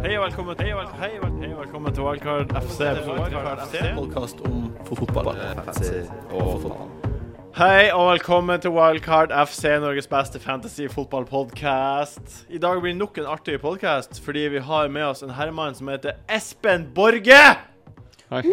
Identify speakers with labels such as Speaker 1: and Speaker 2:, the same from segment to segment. Speaker 1: Hei og velkommen til Hei og vel- hei og velkommen til Wildcard FC. Wildcard FC.
Speaker 2: podkast om fotball.
Speaker 1: Hei og velkommen til Wildcard FC, Norges beste fantasy-fotballpodkast. I dag blir det nok en artig podkast fordi vi har med oss en herremann som heter Espen Borge.
Speaker 3: Hei.
Speaker 1: Hei.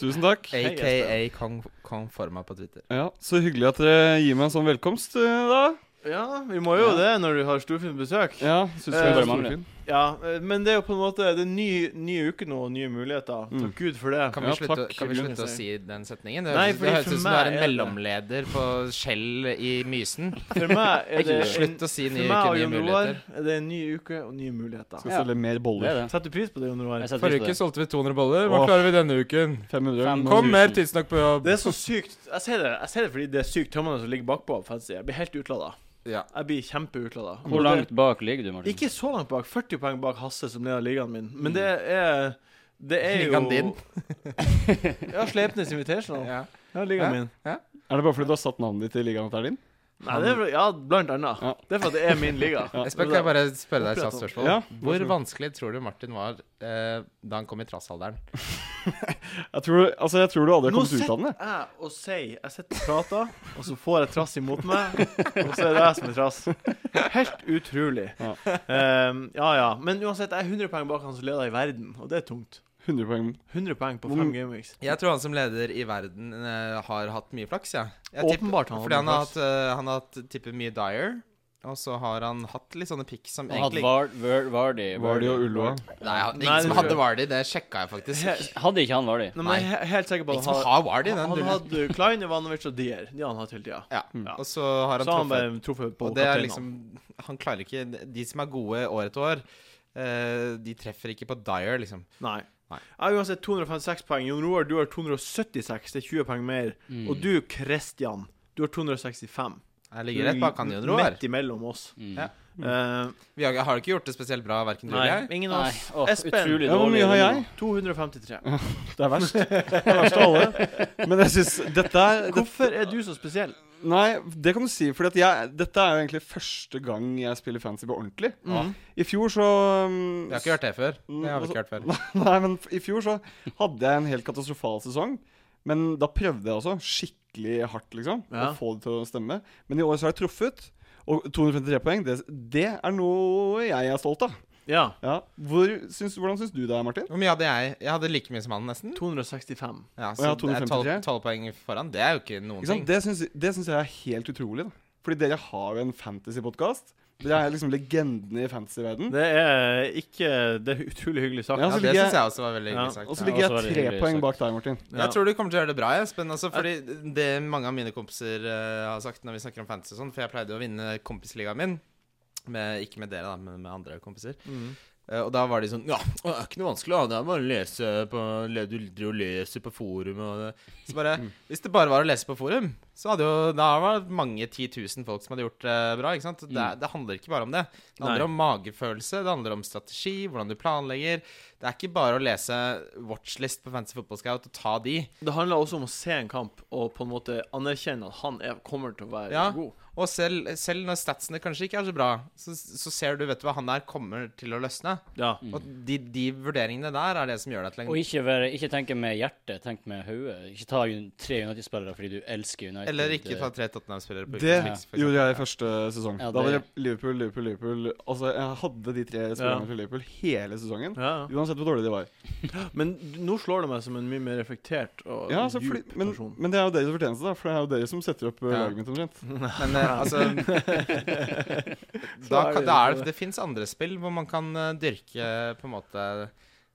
Speaker 3: Tusen takk.
Speaker 1: Hei,
Speaker 4: AKA Kong, Kong for meg på Twitter.
Speaker 3: Ja, Så hyggelig at dere gir meg en sånn velkomst, eh, da.
Speaker 1: Ja, vi må jo det når du har storfint besøk.
Speaker 3: Ja, synes
Speaker 1: Eh, bare
Speaker 3: jeg var
Speaker 2: mangler.
Speaker 3: storfin.
Speaker 1: Ja, eh, men det er jo på en måte Det er en ny, ny uke nå, og nye muligheter. Så
Speaker 3: Mm.
Speaker 1: gud for det.
Speaker 4: Kan vi
Speaker 3: Ja,
Speaker 4: slutte,
Speaker 3: takk,
Speaker 4: kan vi
Speaker 1: Gunnar.
Speaker 4: slutte å si den setningen? Det
Speaker 1: Nei,
Speaker 4: høres det
Speaker 1: fordi
Speaker 4: høres
Speaker 1: for
Speaker 4: ut som du er
Speaker 1: meg
Speaker 4: en
Speaker 1: er det-
Speaker 4: mellomleder på Skjell i Mysen.
Speaker 1: For meg er det en,
Speaker 4: Slutt å si
Speaker 1: for
Speaker 4: nye
Speaker 1: meg og
Speaker 4: uker, nye
Speaker 1: Jon Roar
Speaker 4: muligheter.
Speaker 1: er det en ny uke og nye muligheter.
Speaker 3: Skal
Speaker 2: Ja.
Speaker 3: selge mer
Speaker 2: Det
Speaker 3: boller.
Speaker 2: er det.
Speaker 1: Setter du pris på det, Jon Roar?
Speaker 2: Jeg setter pris på
Speaker 4: Forrige uke
Speaker 2: det.
Speaker 4: solgte vi 200 boller.
Speaker 3: Åh.
Speaker 4: Hva klarer vi denne uken?
Speaker 3: 500.
Speaker 2: Fem-
Speaker 4: Kom mer tidsnakk på jobb.
Speaker 1: Det er så sykt Jeg sier det, jeg sier det fordi det er sykt tømmende som ligger bakpå. Fancy. Jeg blir helt utlada.
Speaker 4: Ja.
Speaker 1: Jeg blir kjempeutladet
Speaker 2: Hvor langt bak ligger du, Martin?
Speaker 1: Ikke så langt bak. 40 poeng bak Hasse, som leder ligaen min. Men det er Det er jo
Speaker 4: Mm. Ligaen din?
Speaker 1: ja, Slepnes Invitational.
Speaker 4: Ja.
Speaker 1: Ja, ligaen
Speaker 4: Ja.
Speaker 1: min.
Speaker 3: Er det bare fordi du har satt navnet ditt i ligaen at det er din?
Speaker 1: Nei, det er, ja, blant annet.
Speaker 3: Ja.
Speaker 1: Det er for at det er min liga.
Speaker 3: Ja.
Speaker 4: Espen, kan jeg bare spørre deg et kjapt spørsmål?
Speaker 3: Ja, vær
Speaker 4: Hvor
Speaker 3: så god.
Speaker 4: vanskelig tror du Martin var eh, da han kom i trassalderen?
Speaker 3: Jeg tror, altså, jeg tror du aldri har
Speaker 1: Nå
Speaker 3: kommet ut
Speaker 1: sitter
Speaker 3: av den. jeg.
Speaker 1: jeg og sier Jeg sitter og prater, og så får jeg trass imot meg, og så er det jeg som er trass. Helt utrolig. Ja
Speaker 3: Ja.
Speaker 1: ja, ja. Men uansett, jeg er 100 poeng bak han som leder i verden, og det er tungt.
Speaker 3: 100 poeng.
Speaker 1: 100 poeng på
Speaker 3: Hvor-
Speaker 1: fem gameweeks.
Speaker 4: Jeg tror han som leder i verden eh, har hatt mye flaks, ja. jeg. tipper-
Speaker 1: Åpenbart han har
Speaker 4: Fordi han
Speaker 1: mye
Speaker 4: har
Speaker 1: flaks.
Speaker 4: hatt, eh, han har hatt tipper mye Dyer. Og så har han hatt litt sånne pick som
Speaker 2: Han hadde
Speaker 4: egentlig
Speaker 2: Var- Var- Vardy
Speaker 3: Vardy og Ulloa.
Speaker 4: Nei, han,
Speaker 1: Nei,
Speaker 4: ingen som
Speaker 1: det-
Speaker 4: hadde Vardy, det sjekka jeg faktisk.
Speaker 2: Hadde ikke han Vardy?
Speaker 1: Nei, men jeg er he- helt sikker på
Speaker 4: Ingen
Speaker 1: at
Speaker 4: som
Speaker 1: han har
Speaker 4: har Vardy, den
Speaker 1: han
Speaker 4: dullen.
Speaker 1: hadde Klein, Ivanovic og Dier. De har han hatt hele tida.
Speaker 4: Ja.
Speaker 1: Ja.
Speaker 4: Og så har han
Speaker 1: Så har han
Speaker 4: truffet.
Speaker 1: bare truffet på
Speaker 4: Og det er
Speaker 1: kapteinene.
Speaker 4: liksom Han klarer ikke De som er gode år etter år, eh, de treffer ikke på Dyer, liksom.
Speaker 1: Nei.
Speaker 4: Nei.
Speaker 1: Jeg har uansett 256 poeng. Jon Roar, du har 276. Det er 20 poeng mer.
Speaker 2: Mm.
Speaker 1: Og du, Christian, du har 265.
Speaker 4: Jeg ligger rett bak han, Jon Roar.
Speaker 1: Midt imellom oss.
Speaker 2: Mm.
Speaker 4: Ja.
Speaker 1: Eh,
Speaker 4: Vi har, har ikke gjort det spesielt bra, verken du
Speaker 1: nei,
Speaker 4: eller jeg.
Speaker 1: ingen av
Speaker 2: Nei,
Speaker 1: oss.
Speaker 2: åh,
Speaker 1: Espen.
Speaker 2: utrolig dårlig.
Speaker 3: Ja, hvor mye har jeg?
Speaker 1: 253.
Speaker 3: Det er verst. Det er verst av alle. Men jeg syns dette er det,
Speaker 1: Hvorfor er du så spesiell?
Speaker 3: Nei, det kan du si. For jeg, dette er jo egentlig første gang jeg spiller fancy på ordentlig.
Speaker 1: Mm.
Speaker 3: I fjor så um,
Speaker 4: Vi har ikke hørt det før.
Speaker 3: Mm.
Speaker 4: Det har vi ikke hørt før.
Speaker 3: Nei, men f- i fjor så hadde jeg en helt katastrofal sesong. Men da prøvde jeg også skikkelig hardt, liksom.
Speaker 1: Ja.
Speaker 3: Å få det til å stemme. Men i år så har jeg truffet. Og 253 poeng, det, det er noe jeg er stolt av.
Speaker 1: Ja.
Speaker 3: Ja. Hvor, syns, hvordan syns du det er, Martin?
Speaker 4: Hvor mye hadde jeg? Jeg hadde like mye som han, nesten.
Speaker 1: 265.
Speaker 4: Ja,
Speaker 3: Og jeg
Speaker 4: så det
Speaker 3: har
Speaker 4: er
Speaker 3: 253.
Speaker 4: tolv poeng foran. Det er jo ikke noen
Speaker 3: Ikke
Speaker 4: ting.
Speaker 3: sant? Det syns, det syns jeg er helt utrolig. da. Fordi dere har jo en fantasypodkast. Dere er liksom legendene i fantasyverden.
Speaker 1: Det er ikke Det er utrolig hyggelig sagt.
Speaker 3: Ja,
Speaker 4: Ja,
Speaker 3: så
Speaker 4: det
Speaker 3: altså, ligger Altså,
Speaker 4: syns jeg også var veldig
Speaker 1: Ja,
Speaker 4: hyggelig sagt.
Speaker 3: Og så
Speaker 4: ja.
Speaker 3: ligger
Speaker 2: og så var
Speaker 3: jeg
Speaker 2: det
Speaker 3: tre
Speaker 2: hyggelig
Speaker 3: poeng
Speaker 2: sagt.
Speaker 3: bak deg, Martin.
Speaker 1: Ja.
Speaker 4: Jeg tror du kommer til å gjøre det bra, Espen. Altså, fordi det mange av mine kompiser eh, har sagt når vi snakker om fantasy og sånn, for jeg pleide å vinne kompisligaen min, med, ikke med dere, da, men med andre kompiser.
Speaker 1: Mm.
Speaker 4: Eh, og da var de sånn Ja, det er ikke noe vanskelig, da. Det er bare å lese på le- Du driver og leser på forum og det. Så bare Hvis det bare var å lese på forum, så hadde jo Da var det mange 10 000 folk som hadde gjort det bra, ikke sant? Det, er- det handler ikke bare om det. Det handler
Speaker 1: Nei.
Speaker 4: om magefølelse, det handler om strategi, hvordan du planlegger. Det er ikke bare å lese watchlist på Fantasy Football Scout og ta de.
Speaker 1: Det handler også om å se en kamp og på en måte anerkjenne at han er, kommer til å være
Speaker 4: Ja.
Speaker 1: god.
Speaker 4: Og selv, selv når statsene kanskje ikke er så bra, så, så ser du vet du hva han der kommer til å løsne.
Speaker 1: Ja.
Speaker 4: Og de, de vurderingene der er det som gjør deg til
Speaker 2: Og
Speaker 4: en
Speaker 2: ikke, være, ikke tenke med hjertet, tenk med hodet. Ikke ta un- tre United-spillere fordi du elsker United.
Speaker 4: Eller ikke ta tre Tottenham-spillere på
Speaker 3: Det
Speaker 4: Utenriks, for
Speaker 3: gjorde
Speaker 4: eksempel.
Speaker 3: jeg i første sesong.
Speaker 2: Ja,
Speaker 3: Da var det
Speaker 2: det-
Speaker 3: Liverpool, Liverpool, Liverpool. Altså, jeg hadde de tre spillerne
Speaker 1: Ja.
Speaker 3: fra Liverpool hele sesongen.
Speaker 1: Ja.
Speaker 3: Uansett hvor dårlige de var.
Speaker 1: Men nå slår det meg som en mye mer reflektert og
Speaker 3: Ja, så fordi,
Speaker 1: djup
Speaker 3: men,
Speaker 1: person.
Speaker 3: men det er jo deres fortjeneste, da. For det er jo dere som setter opp eh,
Speaker 4: Ja.
Speaker 3: laget mitt omtrent.
Speaker 4: Men eh, altså da,
Speaker 1: er vi
Speaker 4: kan, da er
Speaker 1: inne på
Speaker 4: det, det fins andre spill hvor man kan eh, dyrke eh, på en måte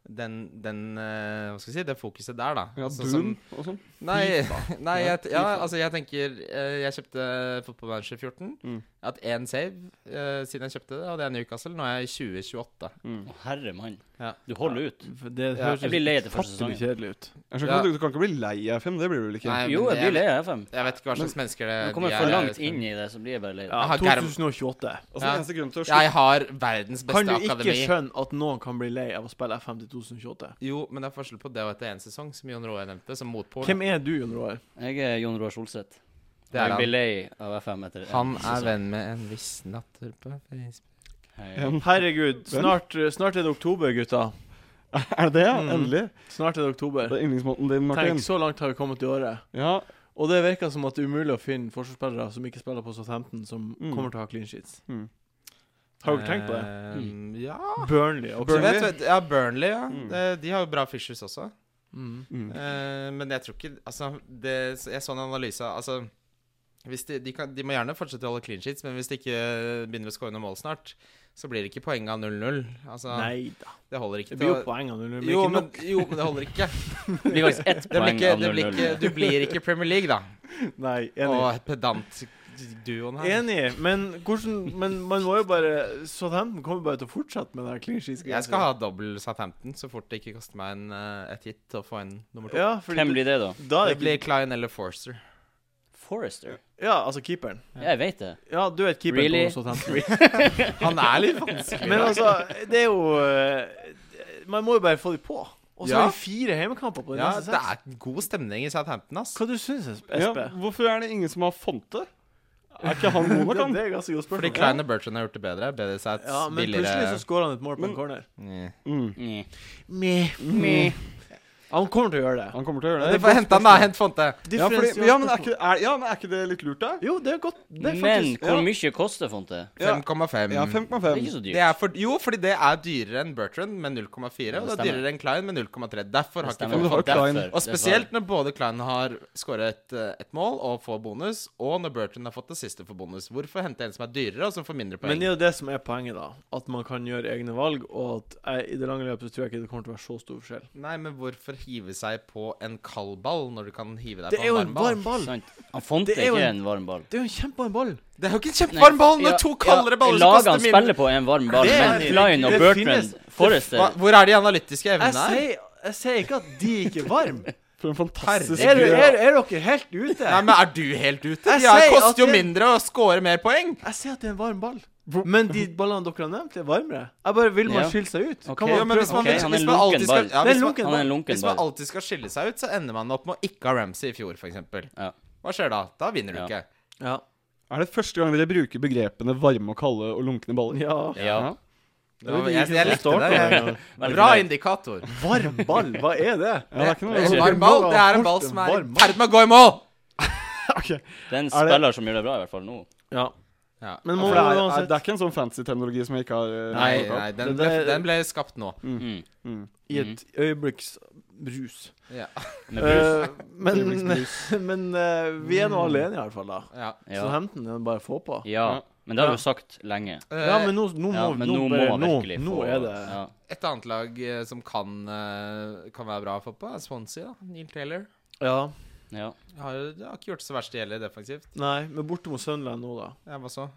Speaker 4: den, den eh, Hva skal vi si Det fokuset der, da.
Speaker 3: Ja,
Speaker 4: Sånn som-
Speaker 3: Boom og sånn.
Speaker 4: Nei, nei
Speaker 3: Ja,
Speaker 4: jeg, ja,
Speaker 3: FIFA.
Speaker 4: altså jeg tenker eh, Jeg kjøpte Football Manager 14.
Speaker 3: Mm.
Speaker 4: Jeg har hatt én save eh, siden jeg kjøpte det, og det er Newcastle. Nå er jeg i 2028.
Speaker 3: Mm.
Speaker 2: Å, herre mann.
Speaker 4: Ja.
Speaker 2: Du holder ut.
Speaker 1: For Det
Speaker 4: Ja,
Speaker 1: høres
Speaker 2: Jeg blir lei etter første
Speaker 1: ufattelig
Speaker 2: sesongen.
Speaker 1: kjedelig ut.
Speaker 3: Jeg skjønner
Speaker 4: Ja.
Speaker 3: ikke at du, du kan ikke bli lei av FM, det blir du vel ikke?
Speaker 4: Nei,
Speaker 2: Jo,
Speaker 4: men
Speaker 2: jeg blir
Speaker 4: det-
Speaker 2: lei av FM.
Speaker 4: Jeg vet ikke hva slags mennesker det
Speaker 2: Når jeg kommer
Speaker 4: de
Speaker 2: for
Speaker 4: er, eh,
Speaker 2: langt
Speaker 4: jeg-
Speaker 2: inn i det, så blir jeg bare lei. av
Speaker 1: Ja,
Speaker 4: Jeg har Germ-
Speaker 1: 2028.
Speaker 3: Altså,
Speaker 4: Ja.
Speaker 3: Den eneste grunnen til å slutte
Speaker 4: Jeg har verdens beste
Speaker 1: Kan du ikke
Speaker 4: akademi.
Speaker 1: skjønne at noen kan bli lei av å spille FM til 2028?
Speaker 4: Jo, men det er forskjell på det og etter én sesong, som Jon Roar nevnte, som motpol.
Speaker 1: Hvem er du, Jon Roar?
Speaker 2: det. Jeg er Jon Roar Solseth.
Speaker 4: Det er
Speaker 2: Jeg blir
Speaker 4: han.
Speaker 2: lei av FM etter en
Speaker 4: Han er
Speaker 2: sesong.
Speaker 4: venn med en viss natter på Facebook.
Speaker 2: Hei.
Speaker 1: Herregud, snart, eh, snart er det oktober, gutta.
Speaker 3: Er det det? ja?
Speaker 1: Mm.
Speaker 3: Endelig?
Speaker 1: Snart er det
Speaker 3: Det
Speaker 1: oktober.
Speaker 3: er yndlingsmåten din, Martin.
Speaker 1: Tenk, så langt har vi kommet i året.
Speaker 3: Ja,
Speaker 1: Og det virker som at det er umulig å finne forsvarsspillere som ikke spiller på Southampton, som
Speaker 3: Mm.
Speaker 1: kommer til å ha clean sheets.
Speaker 3: Mm.
Speaker 1: Har dere tenkt på det?
Speaker 4: Ehm, ja
Speaker 1: Mm. Eh, Burnley
Speaker 4: Så
Speaker 1: også.
Speaker 3: Burnley?
Speaker 4: vet, vet, ja, Burnley. Ja.
Speaker 3: Mm.
Speaker 4: Eh, De har jo bra fishers også.
Speaker 1: Mm.
Speaker 3: Mm.
Speaker 4: Eh, men jeg tror ikke Altså, det, jeg så en analyse Altså, hvis de, de, kan, de må gjerne fortsette å holde clean sheets, men hvis de ikke begynner å skåre noen mål snart, så blir det ikke poeng av 0-0. Altså,
Speaker 1: Nei da.
Speaker 4: det holder ikke
Speaker 1: Det
Speaker 4: til
Speaker 1: blir jo
Speaker 4: å
Speaker 1: poeng av 0-0, men
Speaker 4: jo
Speaker 1: ikke
Speaker 4: men,
Speaker 1: nok.
Speaker 4: jo, men det holder ikke.
Speaker 2: Det blir faktisk ett
Speaker 4: Det blir
Speaker 2: poeng
Speaker 4: ikke,
Speaker 2: av
Speaker 4: det blir ikke
Speaker 2: 0-0.
Speaker 4: Du blir ikke Premier League, da.
Speaker 1: Nei, enig.
Speaker 4: Og pedantduoen her.
Speaker 1: Enig, men hvordan Men man må jo bare Southampton kommer bare til å fortsette med den her clean sheets.
Speaker 4: Jeg skal ha dobbel Southampton så fort det ikke koster meg en, eh, et hit å få en nummer to.
Speaker 1: Ja, fordi
Speaker 2: Hvem blir det, da?
Speaker 1: Da er
Speaker 4: det
Speaker 1: det
Speaker 4: blir
Speaker 1: ikke
Speaker 4: Klein eller Forster.
Speaker 2: Forrester?
Speaker 1: Ja, altså keeperen.
Speaker 2: Ja, jeg vet det.
Speaker 1: Ja, du er et keeper
Speaker 2: Really?
Speaker 1: på Southampton.
Speaker 4: Han er litt vanskelig.
Speaker 1: Men altså, det er jo eh, Man må jo bare få de på. Og så
Speaker 4: Ja.
Speaker 1: har vi fire hjemmekamper på de
Speaker 4: Ja,
Speaker 1: neste
Speaker 4: det
Speaker 1: seks.
Speaker 4: er god stemning i Southampton, ass.
Speaker 1: Hva du syns du,
Speaker 3: ja.
Speaker 1: Espe?
Speaker 3: Hvorfor er det ingen som har fonte? Er ikke han god nok,
Speaker 1: Det,
Speaker 3: han?
Speaker 1: det er ganske godt
Speaker 4: Fordi
Speaker 1: spørsmål.
Speaker 4: Klein og Bertrand har gjort det bedre. Bedre sats,
Speaker 1: Ja, men plutselig
Speaker 4: billigere
Speaker 1: så skårer han et mål på
Speaker 3: Men-
Speaker 1: en corner.
Speaker 4: Nye.
Speaker 3: Mm.
Speaker 2: Mm.
Speaker 1: Meh. Han kommer til å gjøre det.
Speaker 3: Han kommer til å gjøre
Speaker 4: Ja,
Speaker 3: det.
Speaker 4: Det får hente han, da. Hent Fonte.
Speaker 3: Ja, fordi, ja, men er ikke, er, ja, men er ikke det litt lurt, da?
Speaker 1: Jo, det er godt. Det er
Speaker 2: Men
Speaker 1: faktisk
Speaker 2: hvor mye koster Fonte?
Speaker 3: Ja.
Speaker 4: 5,5.
Speaker 3: Ja,
Speaker 2: Det
Speaker 3: 5,5.
Speaker 2: er ikke så
Speaker 4: det
Speaker 2: dyrt.
Speaker 4: er for, jo, fordi det er dyrere enn Bertrand med 0,4.
Speaker 2: Ja, det
Speaker 4: og det er
Speaker 2: stemmer.
Speaker 4: dyrere enn Klein med 0,3. Derfor har
Speaker 2: Det
Speaker 4: ikke
Speaker 2: stemmer.
Speaker 4: Fonte
Speaker 3: Du har
Speaker 2: Derfor-
Speaker 3: Klein.
Speaker 2: det
Speaker 4: Og
Speaker 2: var-
Speaker 4: spesielt når både Klein har skåret et, et mål og får bonus, og når Bertrand har fått det siste for bonus. Hvorfor hente en som er dyrere, og som får
Speaker 1: Men
Speaker 4: mindre poeng?
Speaker 1: det er jo det som er poenget, da. At man kan gjøre egne valg, og at jeg, i det lange løpet så tror jeg ikke det kommer til å være så stor forskjell.
Speaker 4: Nei, men hvorfor hive seg på en kald ball når du kan hive deg
Speaker 1: Det
Speaker 4: på
Speaker 1: er
Speaker 4: en
Speaker 1: jo
Speaker 4: varm
Speaker 1: en
Speaker 4: ball?
Speaker 1: varm ball.
Speaker 2: Sant. Han Fonte
Speaker 1: Det
Speaker 2: er
Speaker 1: er jo
Speaker 2: ikke
Speaker 1: en-
Speaker 2: en varm ball.
Speaker 1: Det er jo en kjempevarm ball.
Speaker 4: Det er jo ikke en kjempevarm ball når
Speaker 2: Ja,
Speaker 4: to
Speaker 2: ja,
Speaker 4: kaldere baller som
Speaker 2: laget
Speaker 4: koster
Speaker 2: han
Speaker 4: mindre.
Speaker 2: spiller på er en varm ball,
Speaker 1: Det er
Speaker 2: men
Speaker 1: enig.
Speaker 2: Klein og
Speaker 1: Det
Speaker 2: Bertrand
Speaker 1: finnes-
Speaker 2: Forrester
Speaker 4: Hva, hvor er de analytiske
Speaker 1: Jeg
Speaker 4: evnene her?
Speaker 1: sier, jeg sier ikke at de ikke er varme.
Speaker 3: For en fantastisk
Speaker 1: Er,
Speaker 3: fyr,
Speaker 1: er,
Speaker 3: da.
Speaker 1: er dere helt ute?
Speaker 4: Nei, men Er du helt ute?
Speaker 1: Jeg
Speaker 4: De her
Speaker 1: sier at
Speaker 4: koster jo
Speaker 1: det-
Speaker 4: mindre og scorer mer poeng.
Speaker 1: Jeg sier at det er en varm ball. Men de ballene dere har nevnt, er varmere. Jeg bare vil man
Speaker 2: Ja.
Speaker 1: skille seg ut.
Speaker 2: Ok,
Speaker 1: Kan
Speaker 4: Jo,
Speaker 1: man
Speaker 4: men hvis man,
Speaker 2: Ok, han er
Speaker 4: hvis man
Speaker 2: lunken
Speaker 4: alltid skal,
Speaker 2: ball.
Speaker 4: ja,
Speaker 1: Det er
Speaker 4: hvis, man,
Speaker 1: lunken
Speaker 2: Han er en lunken
Speaker 4: hvis man
Speaker 2: ball.
Speaker 4: alltid skal skille seg ut, så ender man opp med å ikke ha Ramsey i fjor, f.eks.
Speaker 2: Ja.
Speaker 4: Hva skjer da? Da vinner du
Speaker 2: Ja.
Speaker 4: ikke.
Speaker 1: ja.
Speaker 3: Er det første gang dere bruker begrepene varme og kalde og lunkne baller?
Speaker 1: ja.
Speaker 2: Ja.
Speaker 4: Det var, jeg, jeg likte
Speaker 1: Starter
Speaker 4: det.
Speaker 1: med-
Speaker 4: Bra indikator.
Speaker 1: Varm ball, hva er det?
Speaker 3: Ja, det er ikke noe
Speaker 4: En
Speaker 2: Jeg-
Speaker 4: varm ball, det er en ball som er i
Speaker 1: Varm ball.
Speaker 4: ferd med å gå i mål!
Speaker 3: Ok.
Speaker 2: Det er en
Speaker 3: Er det-
Speaker 2: spiller som gjør det bra, i hvert fall nå.
Speaker 1: Ja.
Speaker 4: Ja.
Speaker 1: Men
Speaker 3: For
Speaker 1: må
Speaker 3: det, er, er,
Speaker 1: uansett
Speaker 3: det er ikke en sånn fancy terminologi som jeg ikke har eh,
Speaker 4: Nei,
Speaker 3: hørt om.
Speaker 4: nei den,
Speaker 1: Det
Speaker 4: ble,
Speaker 1: der-
Speaker 4: den ble skapt nå.
Speaker 2: Mm.
Speaker 3: Mm.
Speaker 1: i et øyeblikks brus.
Speaker 4: Ja.
Speaker 2: Med brus.
Speaker 1: Eh, men men eh, vi er nå alle enige, i hvert fall. da
Speaker 4: Ja.
Speaker 1: Så
Speaker 2: Ja.
Speaker 1: Hampton er det bare å få på.
Speaker 2: ja.
Speaker 3: Ja.
Speaker 2: Men det har
Speaker 1: Ja.
Speaker 2: du sagt lenge.
Speaker 1: Ja,
Speaker 4: Eh,
Speaker 1: men nå, nå må
Speaker 2: Ja, men nå må
Speaker 1: bare-
Speaker 2: man virkelig
Speaker 1: nå,
Speaker 2: få
Speaker 1: nå er det
Speaker 2: ja.
Speaker 4: Et annet lag eh, som kan, eh, kan være bra å få på, er Swansea. da. Neil Taylor.
Speaker 1: Ja.
Speaker 2: Ja.
Speaker 4: Har, har ikke gjort så verst det gjelder defensivt.
Speaker 1: Nei, men borte mot Sunderland nå, da.
Speaker 4: Ja, hva så?